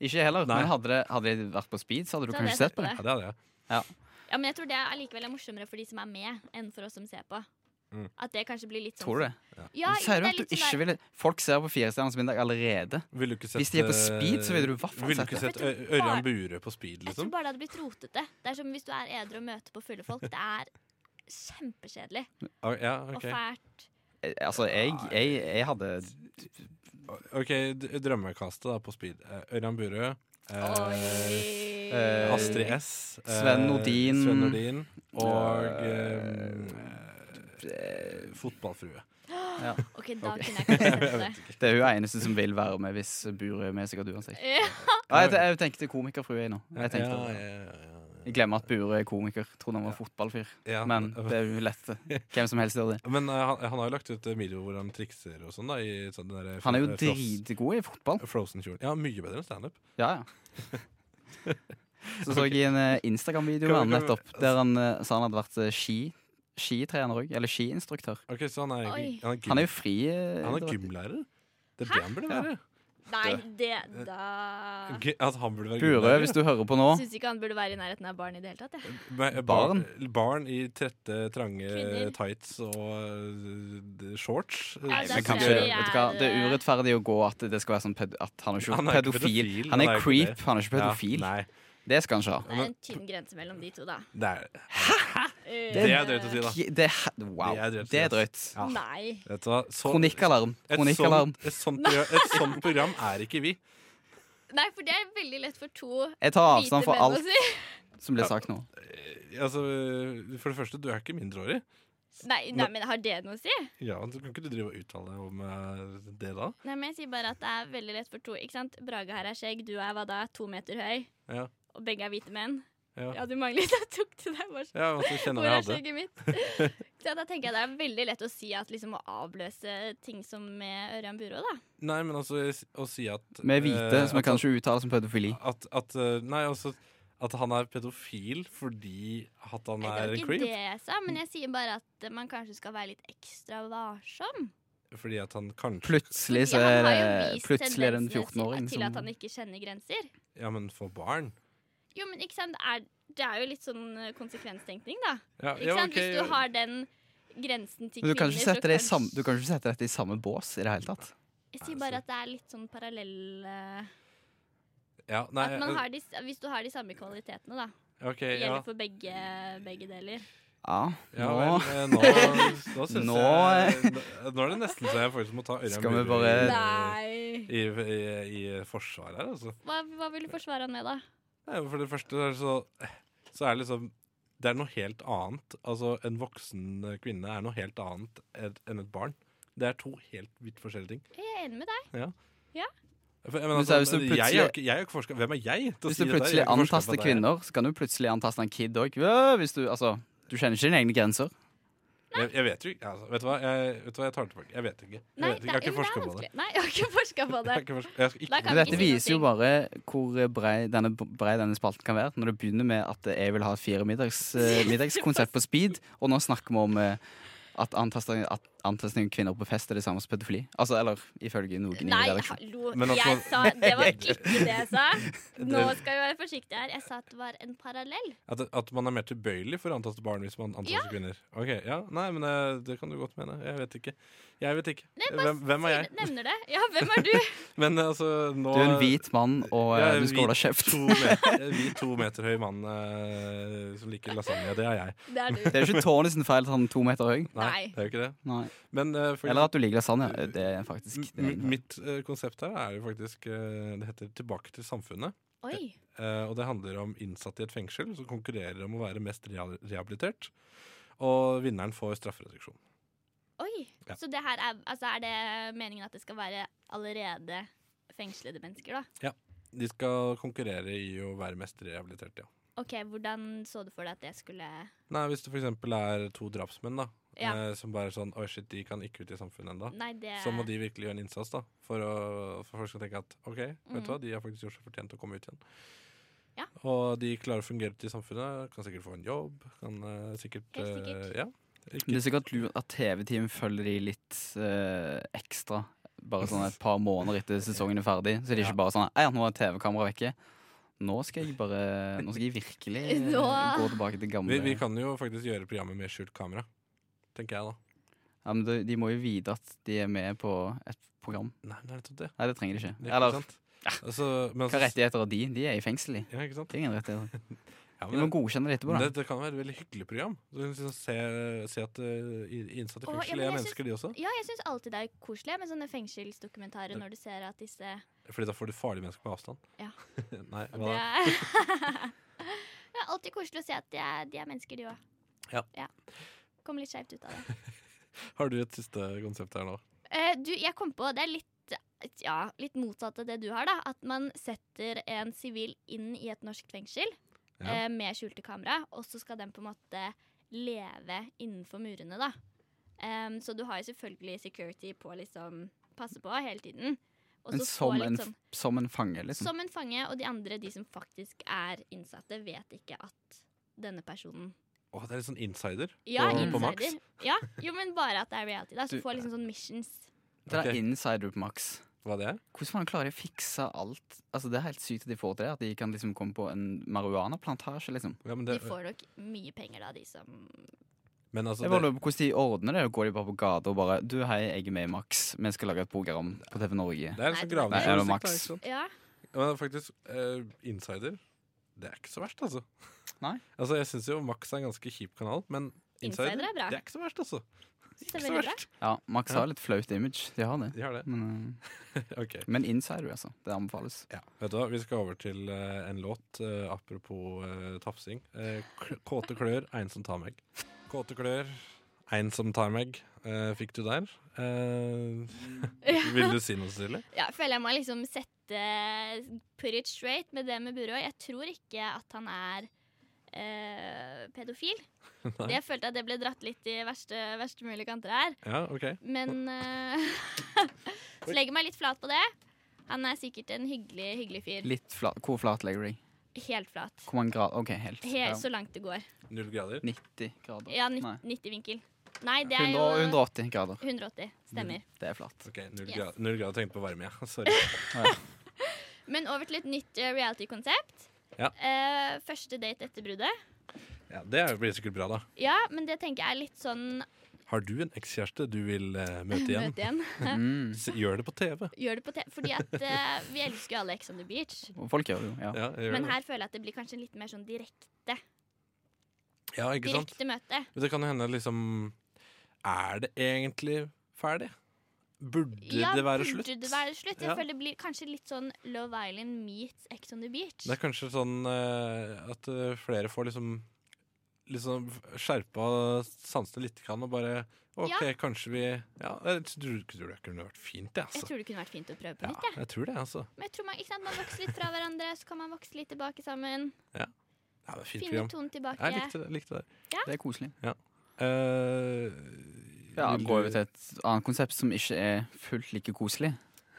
D: Ikke heller.
C: Nei.
D: Men hadde, det, hadde de vært på speed, så hadde du
A: Så hadde jeg
D: kanskje sett
A: sett
D: på det.
C: Ja, det hadde jeg.
A: Ja, men jeg tror det er allikevel er morsommere for de som er med, enn for oss som ser på.
C: Mm.
A: At det kanskje blir litt sånn
D: Tror du det?
A: Ja,
D: Men Sier du
A: det er
D: at du
A: litt sånn
D: ikke
A: der-
D: ville Folk ser på Fire stjerners middag allerede.
C: Ville du ikke sett,
D: Hvis de er på speed, så ville du i hvert fall
C: ville
D: sett
C: ikke
D: det.
C: sett Ø- Ørjan Bure på speed,
A: Jeg tror
C: liksom?
A: bare det hadde blitt rotete. Det er som hvis du er edru og møter på fulle folk. Det er kjempekjedelig
C: Ah, Ja,
A: og
C: ok.
A: fælt.
D: Eh, Altså, jeg, jeg, jeg hadde
C: Ok, d- Drømmekastet da på speed. Eh, Ørjan Burøe. Eh,
A: Oi.
D: eh,
C: Astrid S. eh,
D: Sven Nordin.
C: Sven Nordin og
D: Eh,
C: eh, Fotballfrue.
A: OK, da kunne jeg kanskje sett det.
D: Det er hun eneste som vil være med hvis buret er med seg av du uansett.
A: Ja.
D: Ah, jeg, jeg tenkte komikerfrue jeg nå. Jeg, tenkte,
C: ja, ja, ja, ja.
D: jeg glemmer at buret er komiker. Trodde han var fotballfyr.
C: Ja,
D: Men det er jo lett. Hvem som helst gjør det.
C: men, eh, han, han har jo lagt ut eh, video hvor han trikser og sånn. da i sånn den der
D: Han er jo
C: fro- fros-
D: dritgod i fotball.
C: Frozen-kjolen. Ja, mye bedre enn standup.
D: Ja, ja. Så så jeg en eh, Instagram-video med
C: Kan
D: han
C: vi- kan vi-
D: nettopp, der han eh, sa han hadde vært eh, ski, skitrener òg. Eller skiinstruktør.
C: Ok, Så han er egentlig
A: Oi.
C: han er, gym,
D: Han er jo fri eh,
C: han er
D: idrett.
C: gymlærer? Det er det han burde
D: Ja.
C: være.
A: Nei, det da
C: G- At han burde være
D: Burø,
C: gymlærer.
D: hvis du hører på nå.
A: Syns ikke han burde være i nærheten av barn i det hele tatt. jeg.
C: Med, barn.
D: Barn?
C: barn i trette, trange
A: Kvinner.
C: tights og øh, d- shorts.
A: Nei,
D: Men
A: Der tror
D: kanskje,
A: jeg vi
D: vet du hva,
A: er,
D: Det er urettferdig å gå at det skal være sånn ped at han er ikke
C: Han er ikke
D: pedofil.
C: pedofil,
D: Han
C: han
D: er
C: er jo ikke
D: creep,
C: det.
D: han er ikke pedofil.
C: Ja, nei,
D: det skal han ikke ha.
A: Det er en tynn grense mellom de to, da. Eh,
C: det er,
A: Det
C: det er drøyt å si, da.
D: Ki- Det, er- wow,
C: Det er drøyt,
D: det er
C: ass.
D: drøyt.
C: Ja.
A: Nei.
C: Vet du hva? Så,
D: Kronikkalarm.
C: et,
D: Kronikkalarm.
C: sånt, et, sånt program, et sånt program er ikke vi.
A: Nei, for det er veldig lett for to
D: Jeg tar
A: hvite
D: avstand fra
A: menn å
D: alt
A: si.
D: som blir sagt nå.
C: Eh, Altså, for det første, du er ikke mindreårig.
A: Nei, nei, men har det noe å si?
C: Ja, så Kan ikke du drive og uttale deg om eh, det da?
A: Nei, men jeg sier bare at det er veldig lett for to. Ikke sant? Brage her er skjegg, du er hva da, to meter høy,
C: Ja.
A: og begge er hvite menn.
C: Ja.
A: Ja, du mangler Da tok du deg bare sånn.
C: Ja, altså, kjenner
A: Hvor
C: jeg
A: er
C: hadde.
A: skjegget mitt? Så da tenker jeg det er veldig lett å si at liksom å avløse ting som med Ørjan Burå, da.
C: Nei, men altså, jeg s- å si at
D: Med hvite,
C: eh,
D: som jeg
C: at-
D: kanskje uttaler som pedofili.
C: at, at, eh, Nei, altså at han er pedofil fordi at han
A: Nei,
C: er
A: det
C: en
A: var ikke
C: creep.
A: det jeg sa, men jeg sier bare at man kanskje skal være litt ekstra varsom.
C: Fordi at han kanskje
D: Plutselig så
A: Fordi
D: er
A: han har
D: det
A: jo vist
D: eh, plutselig er det en
A: tendensene til-
D: 14-åring
A: Til at han
D: som
A: ikke kjenner grenser.
C: Ja, men for barn?
A: Jo, men ikke sant, det er, det er jo litt sånn eh, konsekvenstenkning, da.
C: Ja,
A: Ikke sant? Hvis du har den grensen til
D: Men du
A: kvinner
D: kan ikke sette
A: så
D: det i
A: kanskje-
D: samme, du kan ikke sette dette i samme bås i det hele tatt.
A: Jeg sier bare at det er litt sånn parallell eh,
C: Ja, nei, eh,
A: At man har de, s- Hvis du har de samme kvalitetene, da.
C: OK,
A: Det
C: ja.
A: gjelder for begge, begge deler.
D: Ja,
C: Ja,
D: nå
C: vel, eh, nå, nå syns
D: Nå- eh.
C: jeg Nå er det nesten så jeg faktisk må ta Ørjan
D: Skal vi
C: Bure
D: bare- Eh,
A: Nei!
C: i, i, i, i forsvaret her, altså.
A: Hva, hva vil du forsvare han med, da?
C: Nei, For det første er det så, så er det liksom Det er noe helt annet. Altså, en voksen kvinne er noe helt annet et- enn et barn. Det er to helt vidt forskjellige ting.
A: Jeg er enig med deg.
C: For, jeg, mener,
D: Men så er det
C: altså,
D: hvis
C: jeg,
D: du plutselig-
C: er jo ikke, jeg er jo ikke forsker. Hvem er jeg til å
D: Hvis
C: si dette? Jeg
D: du plutselig
C: er ikke forsker på
D: antaster
C: det.
D: kvinner, så kan du plutselig antaste en kid òg. Hvis du, altså, du kjenner ikke dine egne grenser.
C: Jeg, jeg vet jo ikke. Altså, vet, du hva? Jeg, vet du hva, jeg tar det tilbake. Jeg vet ikke. Jeg, vet ikke. jeg
A: Nei,
C: har
A: det er-
C: ikke
A: jo, det er
C: forska på det.
A: vanskelig. Nei, jeg har ikke forska på
C: Jeg
A: det.
C: har ikke forska- jeg skal
A: Da
C: ikke
D: Men
A: kan vi
D: dette
A: si noe
D: viser jo
A: ting.
D: bare hvor brei denne, brei denne spalten kan være. Når det begynner med at jeg vil ha et fire middags, eh, middagskonsept på speed, og nå snakker vi om eh, at antasting at antasting av kvinner på fest er det samme som pedofili. Altså, eller ifølge noen i
A: Nei,
D: redaksjonen.
A: hallo.
C: Men altså-
A: Jeg sa Det var ikke det jeg sa. Nå skal vi være forsiktige her. Jeg sa at det var en parallell.
C: At, at man er mer tilbøyelig for å antaste barn hvis man antaster kvinner? Ok, ja, Nei, men det, det kan du godt mene. Jeg vet ikke. Jeg vet ikke. Hvem, hvem er jeg?
A: Nevner det. Ja, hvem er du?
C: Men altså, nå
D: Du er en hvit mann, og eh,
C: Jeg er
D: du skal
C: hvit.
D: holde kjeft.
C: To meter, vi to meter høy mann eh, som liker lasagne, det er jeg.
A: Det er
D: Det
A: du.
D: er jo ikke Tony sin feil at han er to meter høy.
C: Nei,
A: Nei.
C: det er jo ikke det.
D: Nei.
C: Men eh, for,
D: Eller at du liker lasagne. Det er faktisk det
C: m-
D: er
C: m- mitt eh, konsept her er jo faktisk eh, Det heter 'Tilbake til samfunnet'.
A: Oi.
C: Eh, og det handler om innsatte i et fengsel som konkurrerer om å være mest reha- rehabilitert. Og vinneren får straffereduksjon.
A: Oi.
C: Ja.
A: Så det her er Altså, er det meningen at det skal være allerede fengslede mennesker, da?
C: De skal konkurrere i å være mest rehabilitert, ja.
A: OK, hvordan så du for deg at det skulle
C: Nei, Hvis det f.eks. er to drapsmenn da,
A: Ja.
C: eh, som bare er sånn Oi, shit, de kan ikke ut i samfunnet ennå.
A: Nei, det
C: Eh, Så må de virkelig gjøre en innsats da for, å, for folk skal tenke at OK, vet du hva, de har faktisk gjort seg fortjent til å komme ut igjen.
A: Mm. Ja.
C: Og de klarer å fungere ute i samfunnet, kan sikkert få en jobb. kan eh, sikkert,
A: Helt sikkert.
C: eh, ja.
D: Det er sikkert lurt at TV-teamet følger de litt eh, ekstra. Bare sånn et par måneder etter sesongen er ferdig. Så det er ikke bare sånn Ei, nå er TV-kameraet vekke. Nå skal jeg bare Nå skal jeg virkelig eh,
A: Nå-
D: gå tilbake til gamle
C: Vi, vi kan jo faktisk gjøre programmet med skjult kamera, tenker jeg da.
D: ja, men de, de må jo vite at de er med på et program.
C: Nei, men det er nettopp det.
D: Nei, det trenger de ikke.
C: det er
D: Eller
C: sant? Altså, men
D: hva
C: altså-
D: rettigheter har de? De er i fengsel, de.
C: Ja, ikke sant?
D: Det er ingen rettigheter.
C: Ja,
D: Vi må godkjenne det etterpå,
C: Men
D: da.
C: Det, det kan være et veldig hyggelig program. Du kan liksom se, se at eh, i- innsatte i
A: Å, ja,
C: fengsel er
A: men jeg
C: mennesker, de også.
A: Ja, jeg syns alltid det er koselig med sånne fengselsdokumentarer når du ser at disse
C: Fordi da får du farlige mennesker på avstand.
A: Ja.
C: Nei,
A: Og
C: hva
A: det
C: da?
A: er Det er alltid koselig å se at de er, de er mennesker, de òg.
C: Ja.
A: Kom litt skeivt ut av det.
C: Har du et siste konsept her nå?
A: Eh, du, jeg kom på, det er litt ja, litt motsatt av det du har, da. At man setter en sivil inn i et norsk fengsel
C: Ja.
A: eh, med skjulte kamera, og så skal den på en måte leve innenfor murene, da. Em, så du har jo selvfølgelig security på liksom passe på hele tiden. Og
D: Men
A: så få
D: som
A: litt
D: en,
A: sånn-
D: som en fange, liksom.
A: som en fange, og de andre, de som faktisk er innsatte, vet ikke at denne personen
C: Å, det er litt sånn insider.
A: Ja,
C: På- på Max?
A: insider. Ja, jo, men bare at det er reality. Da, så
D: Du-
A: du får liksom sånn missions.
D: Det er
C: Ok.
D: insider på maks.
C: Hva det er?
D: Hvordan faen klarer de å fikse alt? Altså Det er helt sykt at de får til det. At de kan liksom komme på en marihuanaplantasje. liksom
C: Ja, men,
A: De
C: det,
A: får nok mye penger, da, de som
C: men altså
D: Jeg bare
C: det,
D: lurer på Hvordan de ordner det? Går de bare på gata og bare 'Du, hei, jeg er med i Max. Vi skal lage et program på TV Norge'.
C: det er litt
A: Nei,
C: sånn
A: det-
D: Nei, er det
C: gravejournalistikk. da,
D: Max?
C: ikke sant?
A: Ja.
C: Ja, Men faktisk, eh, insider Det er ikke så verst, altså.
D: Nei.
C: Altså, Jeg syns jo Max er en ganske kjip kanal, men insider,
A: Insider er bra.
C: Det er ikke så verst, altså.
A: synes
C: Ikke
A: det er
C: så
A: veldig bra.
C: verst.
D: Ja, Max
C: Ja.
D: har litt flaut image. De har det.
C: De har det.
D: Men, eh,
C: Ok.
D: men insider, altså. Det anbefales.
C: Ja. Vet du hva, Vi skal over til eh, en låt, eh, apropos eh, tafsing. Eh, K- 'Kåte klør, ein som tar meg'. Kåte klør, ein som tar meg. eh, fikk du der? Eh, vil du si noe, Cecilie?
A: Ja, jeg føler jeg må liksom sette put it straight med det med Burå. Jeg tror ikke at han er eh, pedofil.
C: Nei.
A: Jeg følte at det ble dratt litt i verste, verste mulige kanter her.
C: Ja, OK.
A: Men eh, Så legger meg litt flat på det. Han er sikkert en hyggelig, hyggelig fyr.
D: Litt flat. Hvor flat legger de?
A: Helt flat.
D: Hvor mange grad? OK, helt. Ja.
A: Helt så langt det går.
C: Null grader.
D: 90 grader.
A: Ja, nitt-
D: Nei.
A: 90 vinkel. Nei, det er
D: 100,
A: jo
D: 180 grader.
A: 180. Stemmer.
D: Det er flatt.
C: Ok, Null,
A: Yes.
C: grader. null grader tenkte på varme, ja. Sorry.
A: Men over til et nytt eh, reality-konsept.
C: Ja.
A: Eh, første date etter bruddet.
C: Ja, det blir sikkert bra, da.
A: Ja, men det tenker jeg er litt sånn
C: Har du en ekskjæreste du vil eh, møte igjen?
A: Møte igjen.
D: Mm.
C: S- Gjør det på TV.
A: Gjør det på te Fordi at eh, vi elsker jo alle Ex on the Beach.
D: Og folk gjør det jo. Ja.
C: Ja, jeg gjør
A: Men
C: det.
A: her føler jeg at det blir kanskje litt mer sånn direkte,
C: ja ikke sant?
A: direkte møte.
C: Men det kan jo hende liksom Er det egentlig ferdig? Burde
A: Ja,
C: det være
A: burde
C: slutt?
A: det være slutt? Jeg
C: Ja.
A: føler det blir kanskje litt sånn Love Island meets Ex on the Beach.
C: Det er kanskje sånn eh, at eh, flere får liksom Liksom skjerpa sansene litt grann, og bare OK,
A: Ja.
C: kanskje vi Ja, jeg tror, tror det kunne vært fint, det,
A: Jeg
C: altså.
A: tror det kunne vært fint å prøve på
C: Ja,
A: nytt. jeg.
C: jeg tror det, altså.
A: Men jeg tror man, ikke sant? man vokser litt fra hverandre, så kan man vokse litt tilbake sammen.
C: Ja, det er et fint
A: Finne
C: program.
A: tonen tilbake.
C: Jeg likte det. Likte det.
D: Det er koselig.
C: Eh,
D: Ja,
C: vil du-
D: Går vi til et annet konsept som ikke er fullt like koselig.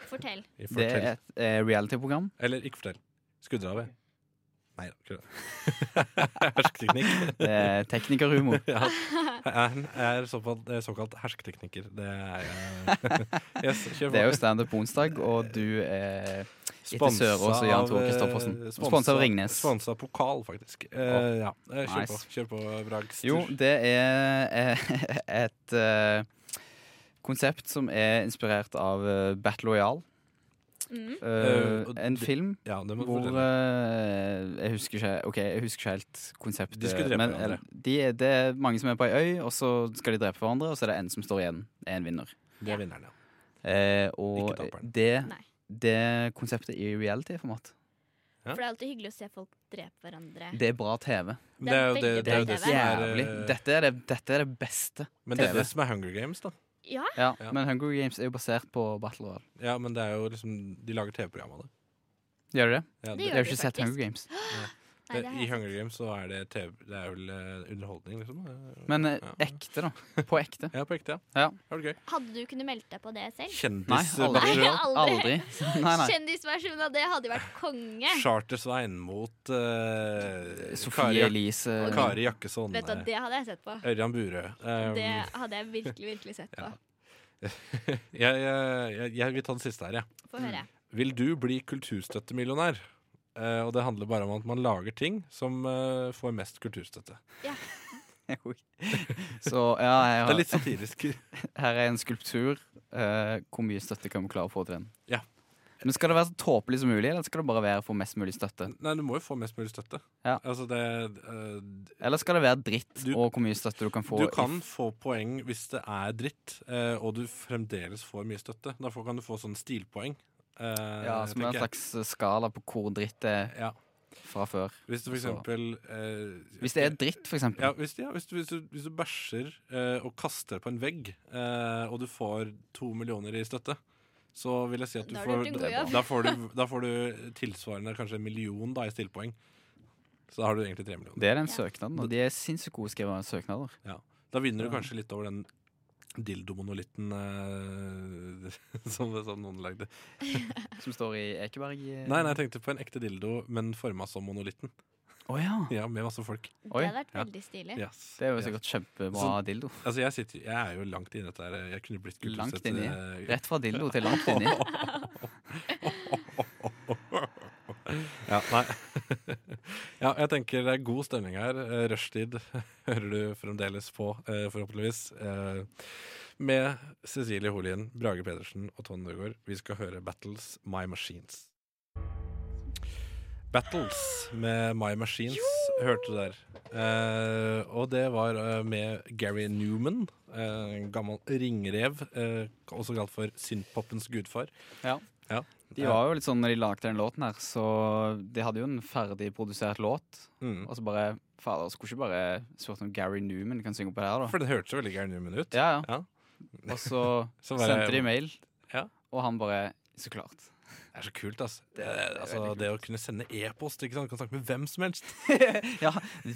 A: Fortell.
D: Det
C: Fortell.
D: er et eh, reality-program.
C: Eller ikke fortell. Skuddra ved. Nei da, kødda. Hersketeknikk.
D: Det er teknikerhumor.
C: Ja. Jeg er såkalt, jeg er såkalt hersketeknikker. Det er jeg. Yes, kjør på.
D: Det er jo standup på onsdag,
C: Eh,
D: og du er etter
C: Sponsa
D: Sørås og Jan Tore
C: av, eh,
D: Kristoffersen.
C: sponsa-
D: Sponsa av Ringnes.
C: Sponsa av pokal, faktisk. Eh,
D: Åh,
C: ja. Eh, Kjør
D: nice.
C: på, kjør på Brags.
D: Jo, det er eh, et eh, konsept som er inspirert av eh, Battle Royale.
A: Mm.
D: Eh,
C: og
D: en
C: det-
D: film
C: ja, det må du
D: hvor
C: fortelle.
D: eh, Jeg husker ikke Ok, jeg husker ikke helt konseptet.
C: De skulle drepe
D: men,
C: hverandre.
D: eh, de, er- det er mange som er på ei øy, og så skal de drepe hverandre, og så er det en som står igjen. Er en vinner.
C: Det er vinneren, ja.
D: Eh,
C: Ikke
D: og
C: taperen.
D: det,
A: Nei.
D: det konseptet i reality-format,
C: Ja.
A: For det er alltid hyggelig å se folk drepe hverandre.
D: det er bra TV.
C: Men Det er jo det, det, er jo det som er
D: Jævlig.
C: eh,
D: Dette er det, dette er det beste.
C: Men det er
D: TV.
C: det som er Hunger Games, da.
A: Ja,
D: Ja,
C: Ja.
D: Men Hunger Games er jo basert på Battle Royale.
C: Ja, men det er jo liksom De lager TV-program av det.
D: Gjør det det?
C: Ja,
A: Det
C: det,
A: gjør
D: Jeg har ikke sett
A: faktisk.
D: Hunger Games.
A: nei, det
C: det,
A: har
C: I
A: jeg
C: Hunger Games så er det TV Det er vel eh, underholdning, liksom. Eh,
D: Men eh,
C: Ja.
D: ekte, da. På ekte.
C: Ja, på ekte,
D: Ja.
C: ja. Det var gøy.
A: sett. Hadde du kunnet meldt deg på det selv?
D: Nei,
C: Kjendis eh,
D: aldri.
C: Battle Royale.
A: Aldri.
D: Aldri. Nei, nei.
A: Kjendisversjonen av det hadde jo vært konge.
C: Charter-Svein mot eh, Kari,
D: Sofie
C: Jak
D: Elise.
C: Kari Jakkesson.
A: Vet du, hva,
C: eh,
A: Det hadde jeg sett på.
C: Ørjan Burøe. Um,
A: Det hadde jeg virkelig, virkelig sett på.
C: jeg, jeg, jeg- jeg vil ta den siste her, jeg.
A: Få
D: Mm.
A: høre.
C: Vil du bli kulturstøttemillionær? Eh, og det handler bare om at man lager ting som eh, får mest kulturstøtte.
D: Så ja, jeg
C: Det er
D: har,
C: litt sånn- satirisk.
D: her er en skulptur. Eh, hvor mye støtte kan vi klare å få til den?
C: Ja.
D: Men Skal det være så tåpelig som mulig, eller skal det bare være for mest mulig støtte?
C: Nei, du må jo få mest mulig støtte.
D: Ja.
C: Altså det eh,
D: Eller skal det være dritt
C: Du-
D: og hvor mye støtte du kan få?
C: Du
D: i-
C: kan få poeng hvis det er dritt, eh, og du fremdeles får mye støtte. Da får- kan du få sånn stilpoeng. eh,
D: ja, Som en
C: tenker jeg.
D: slags skala på hvor dritt det er
C: Ja.
D: fra før.
C: Hvis du for
D: Så-
C: eksempel eh,
D: Hvis det er dritt, for eksempel.
C: ja, hvis, ja, hvis, du, hvis, du, hvis du bæsjer eh, og kaster på en vegg, eh, og du får to millioner i støtte, så vil jeg si at du
A: Da har du
C: får
A: gjort en god
C: da,
A: jobb.
C: da får du, da får du tilsvarende kanskje en million da, i stillpoeng. Så da har du egentlig tre millioner.
D: Det er den
A: Ja.
D: søknaden, og de er sinnssykt gode skrevet søknader.
C: Da vinner du kanskje litt over den dildomonolitten eh, som, som noen lagde.
D: Som står i Ekeberg. eh.
C: Nei, nei, jeg tenkte på en ekte dildo, men forma som monolitten.
D: Å ja.
C: Ja, Med masse folk.
A: Det
D: Oi.
A: hadde vært
C: Ja.
A: veldig stilig.
C: Yes.
D: Det er jo
C: yes.
D: sikkert kjempebra
C: Så-
D: dildo.
C: Altså, jeg, sitter, jeg er jo langt inne i dette her. Jeg kunne blitt
D: Langt
C: kultursett,
D: inni.
C: eh,
D: Rett fra dildo til langt inni.
C: Ja, nei. ja, jeg tenker det er god stemning her. Eh, Rushtid hører du fremdeles på, eh, forhåpentligvis. Eh, Med Cecilie Holien, Brage Pedersen og Tone Nøgaard. Vi skal høre Battles My Machines. Battles med My Machines hørte du der. Eh, og det var eh, med Gary Newman, eh, en gammel ringrev, eh, også kalt for synthpopens gudfar.
D: De var jo litt sånn når de lagde den låten her, så de hadde jo en ferdig produsert låt.
C: Mm.
D: Og så bare Fader, skulle ikke bare spurt om Gary Newman kan synge på det her, da?
C: For det hørtes jo veldig Gary Newman ut.
D: Ja, ja.
C: Ja.
D: Og så
C: Så bare-
D: sendte de mail,
C: Ja.
D: og han bare Så klart.
C: Det er så kult, ass. Det,
D: er
C: altså,
D: veldig
C: det å kunne sende e-post, ikke sant? Du kan snakke med hvem som helst.
D: ja,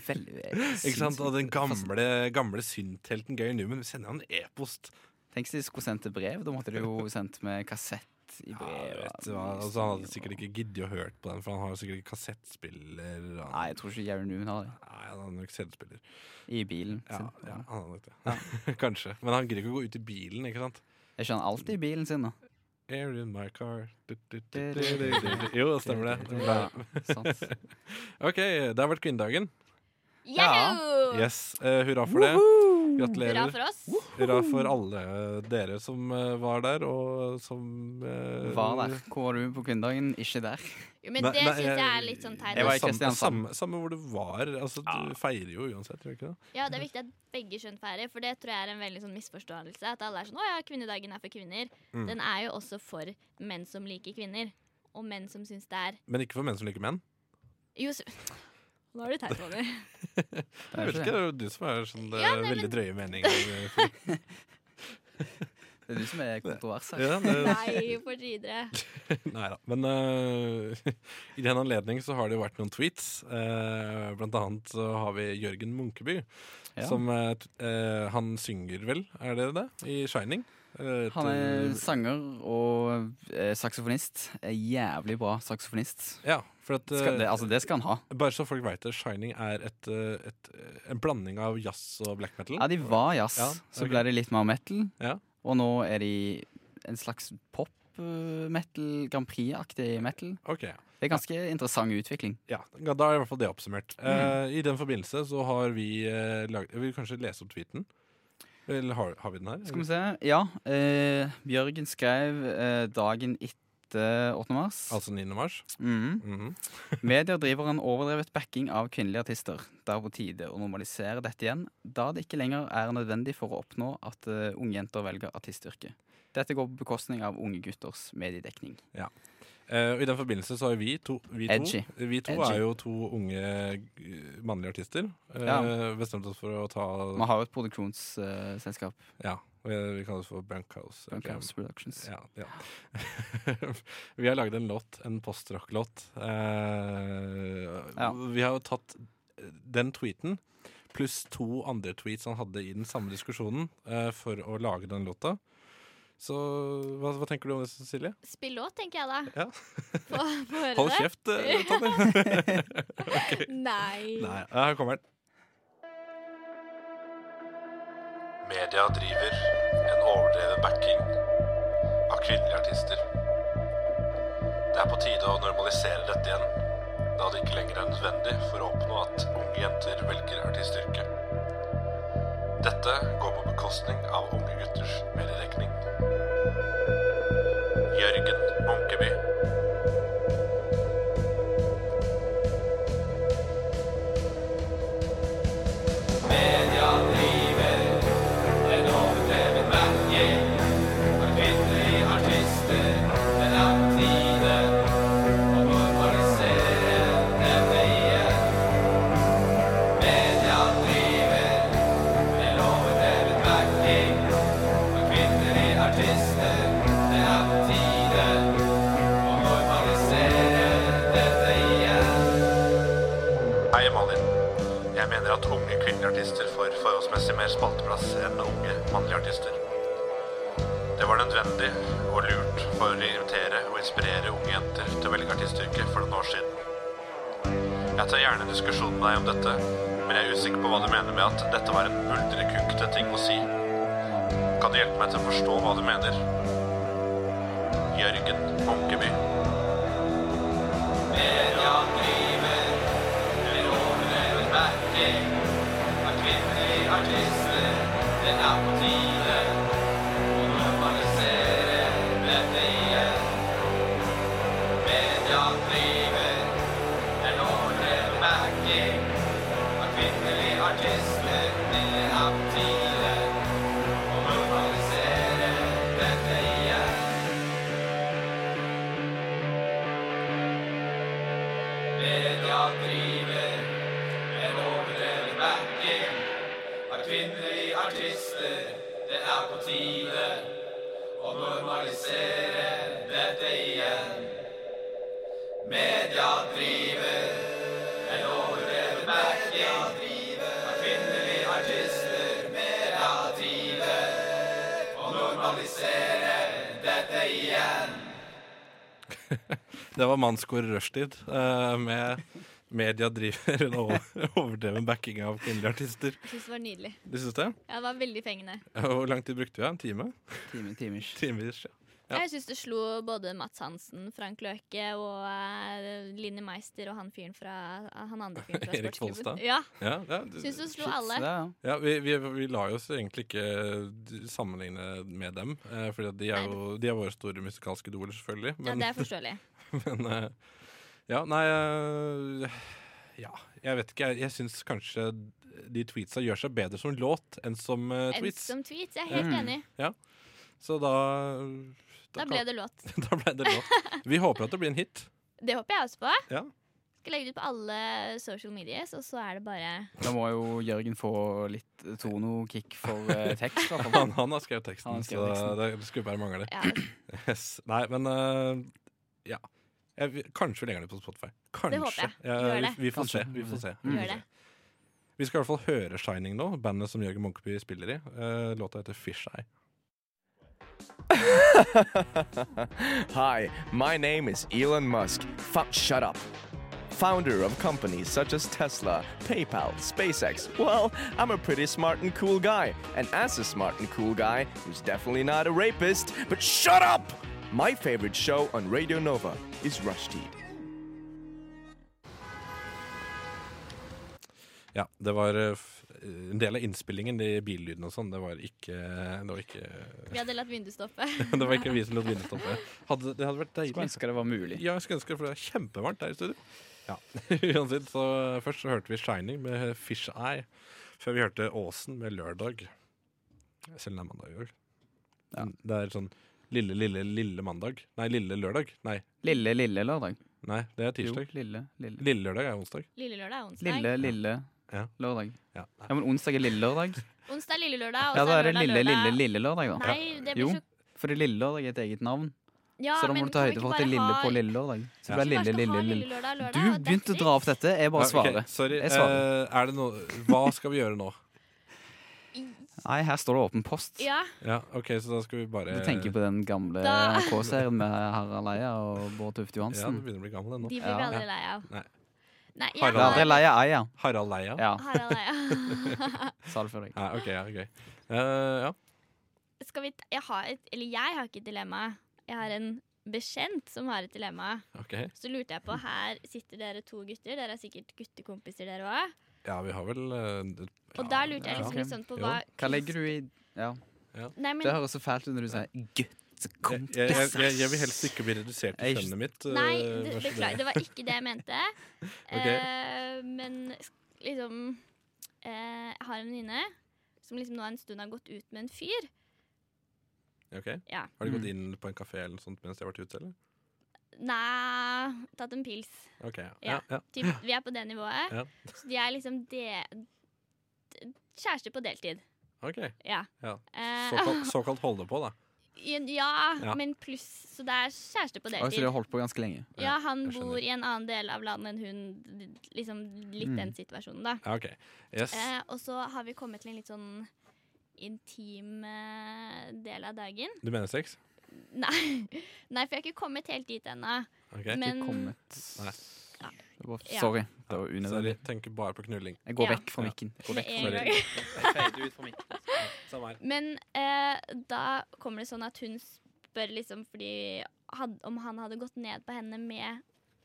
D: veldig
C: Ikke sant? Og den
D: Fast-
C: gamle, gamle synthelten Gary Newman, vi sender han e-post.
D: Tenk hvis de skulle sendt et brev. Da måtte de jo sendt med kassett i
C: Ja,
D: brev.
C: vet du hva. Altså, han hadde sikkert ikke giddet å hørt på den, for han har jo sikkert ikke kassettspiller. og Han,
D: Nei, jeg tror ikke Gary Newman har det.
C: nei, han har nok CD-spiller.
D: I bilen.
C: Ja,
D: sin.
C: ja, han har nok det. Kanskje. Men han gidder ikke å gå ut i bilen, ikke sant?
D: Er ikke han alltid i bilen sin, da?
C: Air in my car du, du, du, du, du, du, du. Jo, stemmer det. det.
D: Ja,
C: bra.
D: sant.
C: OK, det har vært kvinnedagen.
A: Yahoo!
C: Yes, eh, Hurra for det.
A: Hurra
C: Gratulerer.
A: for oss.
C: Hurra for alle dere som eh, var der, og som eh,
D: Var der. Hvor var du på kvinnedagen? Ikke der.
A: Jo, men
C: Nei,
A: det
C: nei,
A: syns jeg er litt sånn teit.
D: Jeg var i
C: Samme-
D: Kristiansand.
C: Samme, samme hvor du var. Altså, du feirer jo uansett, gjør du ikke det?
A: Ja, det er viktig at begge kjønn feirer, for det tror jeg er en veldig sånn misforståelse. At alle er sånn 'Å ja, kvinnedagen er for kvinner'.
C: Mm.
A: Den er jo også for menn som liker kvinner. Og menn som syns det er
C: Men ikke for menn som liker menn.
A: Jo, s- nå er du teit, Ronny.
D: Det
C: Jeg
D: er
C: vet
D: ikke
C: ikke,
D: det.
C: det er jo du som er sånn eh,
A: Ja, nei,
C: veldig
A: men-
C: drøye meninger.
D: Det er du som er kontrovers her.
C: Ja, det,
A: Nei, for videre.
C: nei da. Men eh, i den anledning så har det jo vært noen tweets. Eh, blant annet så har vi Jørgen Munkeby,
D: Ja.
C: som eh, t- eh, Han synger vel, er det det? I Shining. Eh,
D: Han er
C: til-
D: sanger og eh, saksofonist. Er Jævlig bra saksofonist.
C: Ja, for at
D: Skal, det,
C: eh,
D: altså, det skal han ha.
C: Bare så folk veit det, Shining er et, eh, et, en blanding av jazz og black metal.
D: Ja, de var jazz,
C: Ja,
D: så
C: ok.
D: ble det litt mer metal.
C: Ja.
D: Og nå er de en slags pop-metal, Grand Prix-aktig metal.
C: Ok, ja.
D: Det er ganske interessant utvikling.
C: Ja, da er i hvert fall det oppsummert.
D: Mm.
C: Eh, I den forbindelse så har vi eh, lag- Jeg vil kanskje lese opp tweeten. Eller har, har vi den her?
D: Skal vi se. Ja, eh, Bjørgen skrev eh, dagen etter 8. mars.
C: Altså 9. mars.
D: Mhm.
C: Mhm.
D: Medier driver en overdrevet backing av kvinnelige artister. Det er på tide å normalisere dette igjen, da det ikke lenger er nødvendig for å oppnå at eh, unge jenter velger artistyrket. Dette går på bekostning av unge gutters mediedekning.
C: Eh, og I den forbindelse så har vi to Vi to,
D: Edgy.
C: vi to
D: Edgy.
C: er jo to unge eh, mannlige artister. Eh,
D: Ja.
C: Bestemt oss for å ta
D: Vi har jo et produksjonsselskap,
C: Ja, vi, vi kaller oss for Bunkhouse.
D: Bunkhouse Productions.
C: Ja, ja. vi har lagd en låt, en postrock-låt. Eh,
D: Ja.
C: Vi har jo tatt eh, den tweeten pluss to andre tweets han hadde i den samme diskusjonen eh, for å lage den låta. Så hva, hva tenker du om det, Cecilie?
A: Spill låt, tenker jeg da.
C: Ja.
A: Få få høre
C: Hold
A: det.
C: kjeft, eh, Tonje!
A: Nei.
C: Nei, ja, her kommer den.
B: Media driver en overdrevet backing av kvinnelige artister. Det er på tide å normalisere dette igjen, da det ikke lenger er nødvendig for å oppnå at unge jenter velger artistyrke. Dette går på bekostning av unge gutters mediedekning. Jørgen Munkeby. Hei, Malin. Jeg mener at unge kvinnelige artister får forholdsmessig mer spalteplass enn unge mannlige artister. Det var nødvendig og lurt for å invitere og inspirere unge jenter til å velge artistyrket for noen år siden. Jeg tar gjerne en diskusjon med deg om dette, men jeg er usikker på hva du mener med at dette var en buldrekunkete ting å si. Kan du hjelpe meg til å forstå hva du mener? Jørgen Munkeby.
C: Det var mannskor rushtid eh, med Media driver en over- overdreven backing av kvinnelige artister.
A: Jeg syns det var nydelig.
C: Du syns det?
A: Ja, det var veldig fengende.
C: Hvor lang tid brukte vi? En time?
D: Time, timers.
C: Timer, ja. Ja.
A: Jeg syns det slo både Mats Hansen, Frank Løke og eh, Linni Meister og han fyren fra eh, Han andre fyren fra
C: Erik Folstad?
A: sportsklubben. Ja,
C: Ja, ja,
A: syns
C: det-
A: du slo
D: Shit,
A: alle.
D: så det er-
C: ja vi, vi, vi lar oss egentlig ikke d- sammenligne med dem, eh, Fordi at de er
A: Nei, det-
C: jo de er våre store musikalske idoler, selvfølgelig.
A: Ja,
C: Men,
A: det er forståelig.
C: men eh, Ja, nei eh, Ja, jeg vet ikke. Jeg, jeg syns kanskje de tweetsa gjør seg bedre som låt enn som eh,
A: Enn
C: tweets.
A: som tweets, jeg er helt
D: Mm.
A: enig.
C: Så da
A: Da ble det låt.
C: da ble det låt. Vi håper at det blir en hit.
A: Det håper jeg også på.
C: Ja.
A: Skal legge det ut på alle social medias, og så er det bare
D: Da må jo Jørgen få litt tono-kick for eh, tekst. i hvert fall.
C: Han, han har skrevet teksten,
D: Han har skrevet
C: så
D: teksten.
C: det, det skulle bare mangle.
A: ja,
C: Yes. Nei, men eh, ja. Jeg, vi- kanskje vi legger den ut på Spotify. Kanskje.
A: håper jeg.
C: Ja,
A: Gjør
C: vi,
A: det. Mm.
C: vi får
D: Kanskje.
C: se. Vi får se. Vi,
A: gjør
C: får
A: det.
C: se. vi skal i hvert fall høre Shining nå, bandet som Jørgen Munkeby spiller i. Eh, låta heter Fisheye.
H: Hi, my name is Elon Musk. Fu- shut up. Founder of companies such as Tesla, PayPal, SpaceX. Well, I'm a pretty smart and cool guy. And as a smart and cool guy, who's definitely not a rapist, but shut up! My favorite show on Radio Nova is Rushdie.
C: Ja, det var eh, f en del av innspillingen, de billydene og sånn. Det var ikke Det var ikke,
A: Vi hadde latt vindusstoppet.
C: det var ikke vi som lot vinne stoppe. Hadde, det hadde vært
D: Skulle
C: deilig.
D: ønske det var mulig.
C: Ja, jeg skulle ønske det, for det er kjempevarmt her i studio. Ja, uansett, så eh, Først så hørte vi 'Shining' med 'Fish Eye', før vi hørte 'Åsen' med 'Lørdag'. Selv om det er mandag i år.
D: Ja.
C: Det er sånn lille, lille, lille mandag. Nei, lille lørdag. Nei,
D: Lille, lille lørdag.
C: nei det er
D: Jo,
C: tirsdag.
D: lille, lille.
C: Lille lørdag er onsdag.
A: Lille lørdag er onsdag.
D: Lille, lille
C: Ja.
D: lørdag.
C: Ja, nei.
D: Ja, men onsdag er lille lørdag.
A: Onsdag er lille lørdag, og
D: Ja,
A: så
D: da
A: er
D: er det
A: lørdag
D: lille,
A: lørdag.
D: lille, lille lørdag, da.
A: Nei, det blir
D: Jo.
A: så
D: Fordi lille lørdag er et eget navn.
A: ja,
D: Så da må
A: men
D: du ta
A: kan vi
D: høyde
A: ikke
D: for at det er
A: bare
D: lille
A: ha-
D: på lille lørdag. Så
A: Kanskje
D: det blir
A: vi bare
D: lille,
A: skal ha
D: lille,
A: lille
D: lille.
A: lørdag, lørdag,
D: Du
A: og that's
D: begynte å dra opp
A: it.
D: dette. Jeg
C: Ja,
D: bare
C: ok,
D: svarer.
C: Sorry.
D: Jeg svarer.
C: Eh, er det noe Hva skal vi gjøre nå?
D: Nei, her står det åpen post.
A: Ja,
C: Ja, OK, så da skal vi bare
D: Du tenker på den gamle
A: Da-
D: NRK-serien med Harald Eia og Bård Tufte
C: Ja, du
D: Johansen.
C: begynner å bli gammel ennå.
A: de blir
D: Ja.
A: vi aldri lei av.
C: Nei.
A: Nei, jeg
D: Du er aldri lei av Eia.
C: Harald Leia?
D: Ja,
A: Harald Eia.
D: sa det for deg.
C: Nei, OK, ja, gøy. Eh, ja.
A: Skal vi ta, jeg har et, eller jeg har ikke et dilemma. Jeg har en bekjent som har et dilemma.
C: OK.
A: Så lurte jeg på, her sitter dere to gutter. Dere er sikkert guttekompiser dere òg.
C: Ja, vi har vel eh,
A: Og da lurte jeg
D: ja,
A: liksom
D: ok.
A: litt sånn på
C: Jo.
A: hva
D: Hva legger du i Ja,
A: Nei,
D: det
A: men
D: høres så fælt ut når du sier
C: jeg, jeg, jeg,
D: guttekompiser.
C: jeg- jeg vil helst ikke bli redusert til
D: Jeg-
C: kjønnet mitt. eh,
A: Nei, det-
C: vær så
A: beklager. Det var ikke det jeg mente.
C: Ok.
A: Eh, men sk- liksom eh, Jeg har en venninne som liksom nå en stund har gått ut med en fyr.
C: snill. Ok.
A: Ja.
C: Har du gått
D: Mm.
C: inn på en kafé eller noe sånt mens de har vært ute, eller?
A: Nei, tatt en pils.
C: Ok, ja.
A: Ja.
C: ja. ja.
A: Typ, vi er på det nivået.
C: Ja.
A: Så de er liksom de, d- Kjærester på deltid.
C: Ok.
A: Ja.
C: Ja.
A: Eh,
C: Såkalt, såkalt holde på, da.
A: ja,
C: Ja.
A: men pluss Så det er kjærester på
D: Oi, så de
A: deltid.
D: har holdt på ganske lenge.
A: Ja, han
C: jeg skjønner.
A: bor i en annen del av landet enn hun. d- Liksom litt
D: Mm.
A: den situasjonen, da.
C: Ja, ok. Yes.
A: Eh, og så har vi kommet til en litt sånn intim eh, del av dagen.
C: Du mener sex?
A: Nei, Nei for jeg har ikke kommet helt dit ennå.
C: Ok.
A: Men
D: Ikke kommet
C: Nei.
D: Det var,
A: Ja.
D: Sorry. Det var
C: Sorry,
D: unødvendig.
C: tenker bare på knulling.
D: Jeg går
A: Ja.
D: vekk fra mikken. Jeg går
A: med
D: vekk
A: en
C: det.
A: gang.
D: fra mikken.
C: Samme her.
A: Men eh, da kommer det sånn at hun spør liksom fordi had, om han hadde gått ned på henne med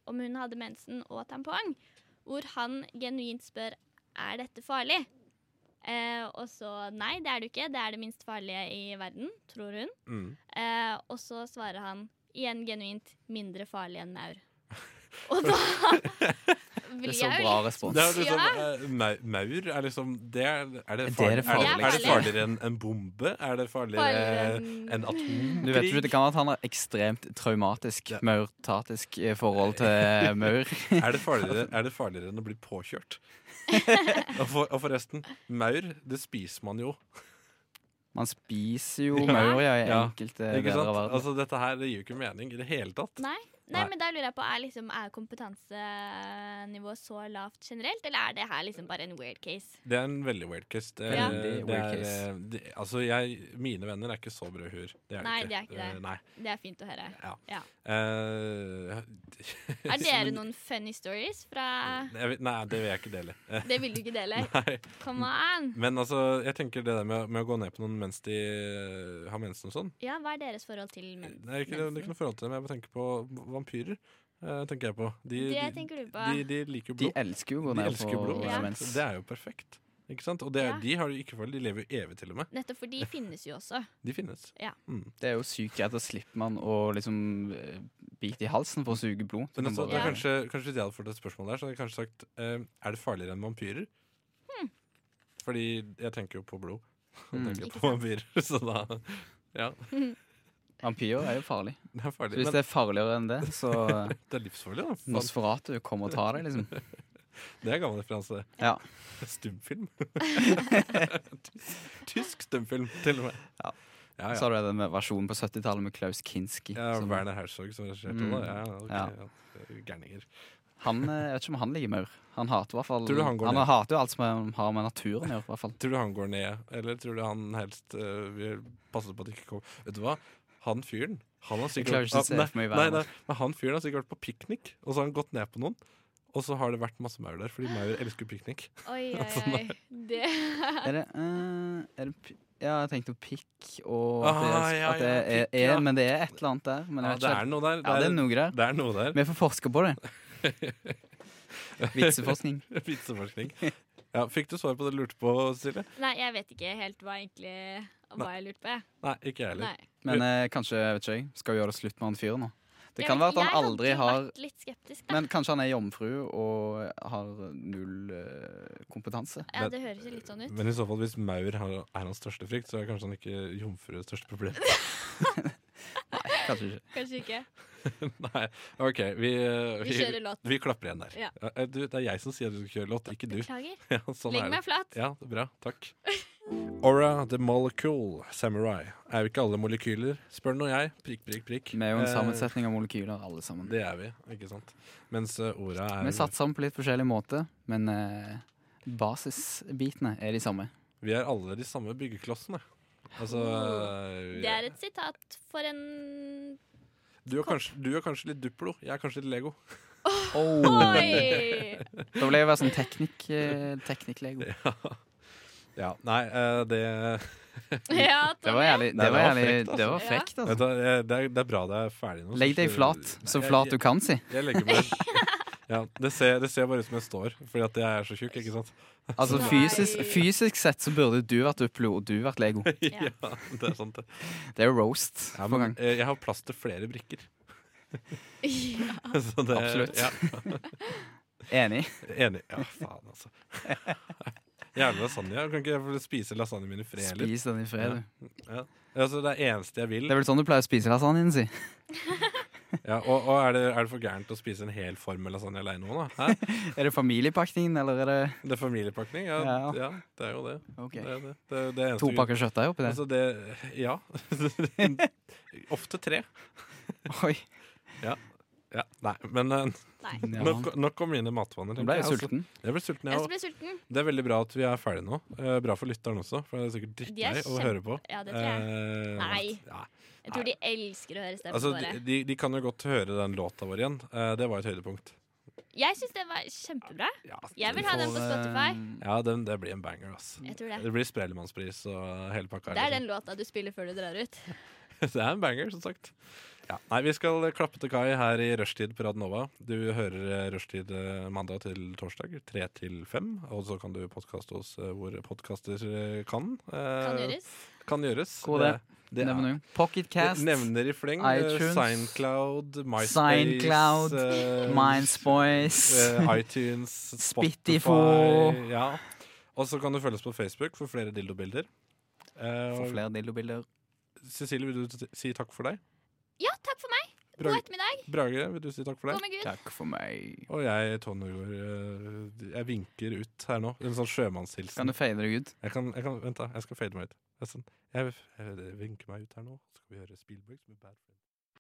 A: Om hun hadde mensen og tampong. Hvor han genuint spør er dette farlig. Eh, og så nei, det er det jo ikke. Det er det minst farlige i verden, tror hun.
C: Mm.
A: Eh, og så svarer han igjen genuint mindre farlig enn maur. Og da
D: Det
A: blir
D: er så
A: jeg jo
D: bra
A: litt
D: respons.
C: Det er liksom,
A: Ja.
C: eh, mau- maur er liksom Det er, er det,
D: Det er
C: farlig, er, det, er det
D: det
A: farligste.
C: farligere enn en bombe? Er det farligere
A: farlig
C: enn atomkrig?
D: Du vet jo ikke, Det kan være at han har ekstremt traumatisk,
C: Ja.
D: maurtatisk eh, forhold til maur.
C: Er det farligere, er det farligere enn å bli påkjørt? og, for, og forresten, maur, det spiser man jo.
D: Man spiser jo
C: Ja.
D: maur ja, i
C: Ja.
D: enkelte
C: Ikke
D: deler
C: sant?
D: av verden.
C: Altså, dette her det gir jo ikke mening i det hele tatt.
A: Nei, Nei,
C: Nei.
A: men da lurer jeg på, er, liksom, er kompetansenivået så lavt generelt, eller er det her liksom bare en weird case?
C: Det er en veldig weird case. Det,
A: Ja.
C: det
D: Veldig weird
C: er,
D: case.
C: eh, De, altså jeg, mine venner er ikke så brødhuer. Det er
A: Nei,
C: ikke.
A: de er ikke det.
C: Eh, nei.
A: Det er fint å høre.
C: Ja.
A: Ja.
C: Eh,
D: Liksom
A: Er dere
C: men-
A: noen funny stories fra
C: Jeg vet- Nei, det vil jeg ikke dele. Eh,
A: Det vil du ikke dele?
C: Nei.
A: Come on!
C: Men altså, jeg tenker det der med, å- med å gå ned på noen mens de eh, har mensen og sånn
A: Ja, hva er deres forhold til menn?
C: Det er ikke, det er ikke noe forhold til det, men jeg bare tenker på vampyrer. eh, tenker jeg på. De,
A: Det
C: de,
A: tenker du på.
C: de, de liker jo
D: De
C: blod.
D: elsker jo å gå
C: De
D: ned
C: elsker jo
D: på
C: blod.
A: Ja.
D: mens.
C: Så det er jo perfekt. Ikke sant? Og det er,
A: Ja.
C: de har jo ikke forhold, de lever jo evig til og med.
A: Nettopp, for de finnes jo også.
C: De finnes.
A: Ja.
C: Mm.
D: Det er jo sykt greit. Da slipper man å liksom eh, bite i halsen for å suge blod. Du
C: Men
D: kan
C: altså, det
D: bare-
C: er kanskje, kanskje hvis jeg hadde fått et spørsmål der, så hadde jeg kanskje sagt eh, Er det farligere enn vampyrer?
A: Hmm.
C: Fordi jeg tenker jo på blod. Jeg
D: Mm.
C: tenker
A: Ikke
C: på
A: sant?
C: vampyrer, så da Ja,
D: Vampyrer er jo farlig.
C: det er
D: Så
C: farlig. Men
D: hvis
C: det,
D: det er farligere enn det, så eh,
C: er livsfarlig, da. Faen,
D: Nosferatu kommer og tar deg, liksom.
C: det er gammel referanse.
D: Ja.
C: Stumfilm. Tysk- Tysk stumfilm, til og med.
D: Ja.
C: ja,
D: Så
C: ja.
D: har du den versjonen på 70-tallet med Klaus Kinski.
C: ja
D: som-
C: Werner Herzog som regisserte
D: Mm.
C: det. Ja, ok,
D: Ja.
C: ja. Gærninger.
D: han, eh, jeg vet ikke om han ligger maur. Han hater i hvert fall
C: Tror du han går ned?
D: hater jo alt som er- har med naturen å gjøre. i hvert fall
C: Tror du han går ned, eller tror du han helst øh, vil passe på at det ikke kommer Vet du hva? Han fyren han har sikkert
D: klarer ikke å se
C: Ah,
D: for
C: nei,
D: meg hver
C: nei,
D: gang.
C: nei, men han fyren har sikkert vært på piknik, og så har han gått ned på noen. Og så har det vært masse maur der, fordi maur elsker piknik.
A: Oi, oi,
C: Altså,
A: oi. Det
D: Er det, eh, er det pi- Ja, jeg tenkte på pikk og at det,
C: Ah, ja,
D: at
C: ja,
D: det er,
C: pikk,
D: er
C: ja.
D: Men det er et eller annet der. Men
C: Ja,
D: jeg vet
C: det
D: ikke,
C: er noe der.
D: ja, det er noe der.
C: det er noe der.
D: Vi får forske på det. Vitseforskning.
C: Vitseforskning. Ja, fikk du svar på det du lurte på, Silje?
A: Nei, jeg vet ikke helt hva egentlig Hva jeg lurte på, jeg.
C: Nei, ikke jeg heller.
A: Nei.
D: Men eh, kanskje jeg vet ikke, jeg, skal vi gjøre det slutt med han fyren nå? Det
A: Jeg
D: kan
A: vet
D: være at
A: ikke,
D: han aldri
A: Jeg har
D: har
A: alltid vært litt skeptisk, da.
D: Men kanskje han er jomfru og har null eh, kompetanse.
A: Ja, det høres jo litt sånn ut.
C: Men i så fall, hvis maur har- er hans største frykt, så er kanskje han ikke jomfrues største problem.
D: Kanskje ikke.
A: Kanskje ikke.
C: Nei, OK. Vi, øh,
A: Vi kjører låt.
C: Vi klapper igjen der.
A: Ja.
C: Eh, Du, det er jeg som sier at du skal kjøre låt, ikke du.
A: Beklager.
C: Ja, sånn er
A: Legg
C: det.
A: meg flat.
C: Ja, det er bra. Takk. Aura the Molecule Samurai. Er jo ikke alle molekyler, spør nå jeg. Prikk, prikk, prikk.
D: Vi er jo en
C: Eh,
D: sammensetning av molekyler, alle sammen.
C: Det er vi, ikke sant. Mens eh, orda er
D: Vi satser sammen på litt forskjellig måte, men eh, basisbitene er de samme.
C: Vi er alle de samme byggeklossene. Altså eh,
A: Det er et sitat for en
C: du, er kanskje, du er kanskje litt Duplo, jeg er kanskje litt Lego.
D: Oh.
A: Oi!
D: Da vil jeg være sånn teknikk, eh, teknikklego.
C: Ja, nei, eh, det
A: Ja,
D: Det var
A: Tommy.
D: jævlig,
C: Nei,
D: det
C: det
D: var
C: var
D: jævlig,
C: frekt, altså.
D: det var
A: Ja.
C: Vet
D: frekt, altså.
C: du hva, jeg- det, er, det er bra det er ferdig nå. så
D: Legg deg
C: slipper-
D: flat, så
C: Nei,
D: flat du
C: jeg-
D: kan si.
C: Jeg legger meg ja, det, ser, det ser bare ut som jeg står, fordi at jeg er så tjukk, ikke sant?
D: Altså
A: Nei.
D: fysisk, fysisk sett så burde du vært Duplo og du vært Lego.
A: Ja.
C: ja det er sant, det.
D: Det er roast
C: Ja,
D: for
C: men,
D: gang.
C: eh, jeg har plass til flere brikker. Så det-
D: Absolutt.
C: Ja,
D: Enig.
C: enig. Ja, faen, altså. Jævlig lasagne. Jeg kan ikke jeg få spise lasagnen min i fred heller.
D: Spis den i fred, du.
C: Altså, det er eneste jeg vil.
D: Det er vel sånn du pleier å spise lasagnen, si.
C: Ja, og og er, det, er det for gærent å spise en hel form med lasagne aleine nå, da? Hæ?
D: Er det familiepakningen, eller er det
C: Det er familiepakning? Ja,
D: Ja.
C: ja det er jo det.
D: Ok.
C: Det er det. Det, er- det er eneste
D: To
C: grunn-
D: pakker kjøttdeig oppi der?
C: Altså, det Ja. Ofte tre.
D: Oi.
C: Ja, nei, men eh,
A: Nei.
C: nok, nok om mine matvaner.
D: Nå ble
C: tenker
D: jeg
C: altså.
D: sulten.
C: Jeg ble sulten, jeg
A: Jeg
C: òg.
A: ble sulten.
C: Det er veldig bra at vi er ferdige nå. Eh, bra for lytteren også, for det er sikkert
A: De er
C: drittlei å
A: kjempe-
C: høre på.
A: Ja, det tror jeg.
C: Eh,
A: Nei.
C: Ja.
A: Jeg tror de elsker å høre
C: Altså,
A: stemmene våre.
C: de, de kan jo godt høre den låta vår igjen. Eh, det var et høydepunkt.
A: Jeg syns den var kjempebra.
C: Ja,
A: Jeg vil ha den på Spotify.
C: ja den, det blir en banger, ass.
A: Jeg tror det.
C: Det blir Sprellemannspris og hele pakka.
A: Det er
C: liksom.
A: den låta du spiller før du drar ut.
C: det er en banger, som sagt. Ja. Nei, vi skal klappe til kai her i rushtid på Radnova. Du hører eh, rushtid eh, mandag til torsdag, tre til fem. Og så kan du podkaste oss eh, hvor podkaster eh, kan. Eh,
A: Kan gjøres.
C: Kan gjøres.
D: God idé.
C: det er-
D: Nevner du. Pocketcast,
C: Nevner i fleng. eh,
D: iTunes,
C: Soundcloud, MySpace,
D: Soundcloud,
C: eh,
D: Mindspoice
C: eh, iTunes, Spotify.
D: Spittifo.
C: Ja. Og så kan du følge oss på Facebook for flere dildobilder. Eh,
D: Få flere dildobilder.
C: Cecilie, vil du si takk for deg?
A: Ja, takk for meg. God
C: Brage,
A: ettermiddag.
C: Brage vil du si takk for
A: Gå
C: deg?
A: med Gud.
D: Takk for meg.
C: Og jeg, Tonjegård, eh, jeg vinker ut her nå. En sånn
D: Kan du
C: sjømannshilsen.
D: fade deg ut?
C: Jeg kan, jeg kan, vent, da. Jeg skal fade meg ut. Jeg, er sånn- jeg, jeg vinker meg ut her nå. Så skal vi høre Spielberg som er bad friend.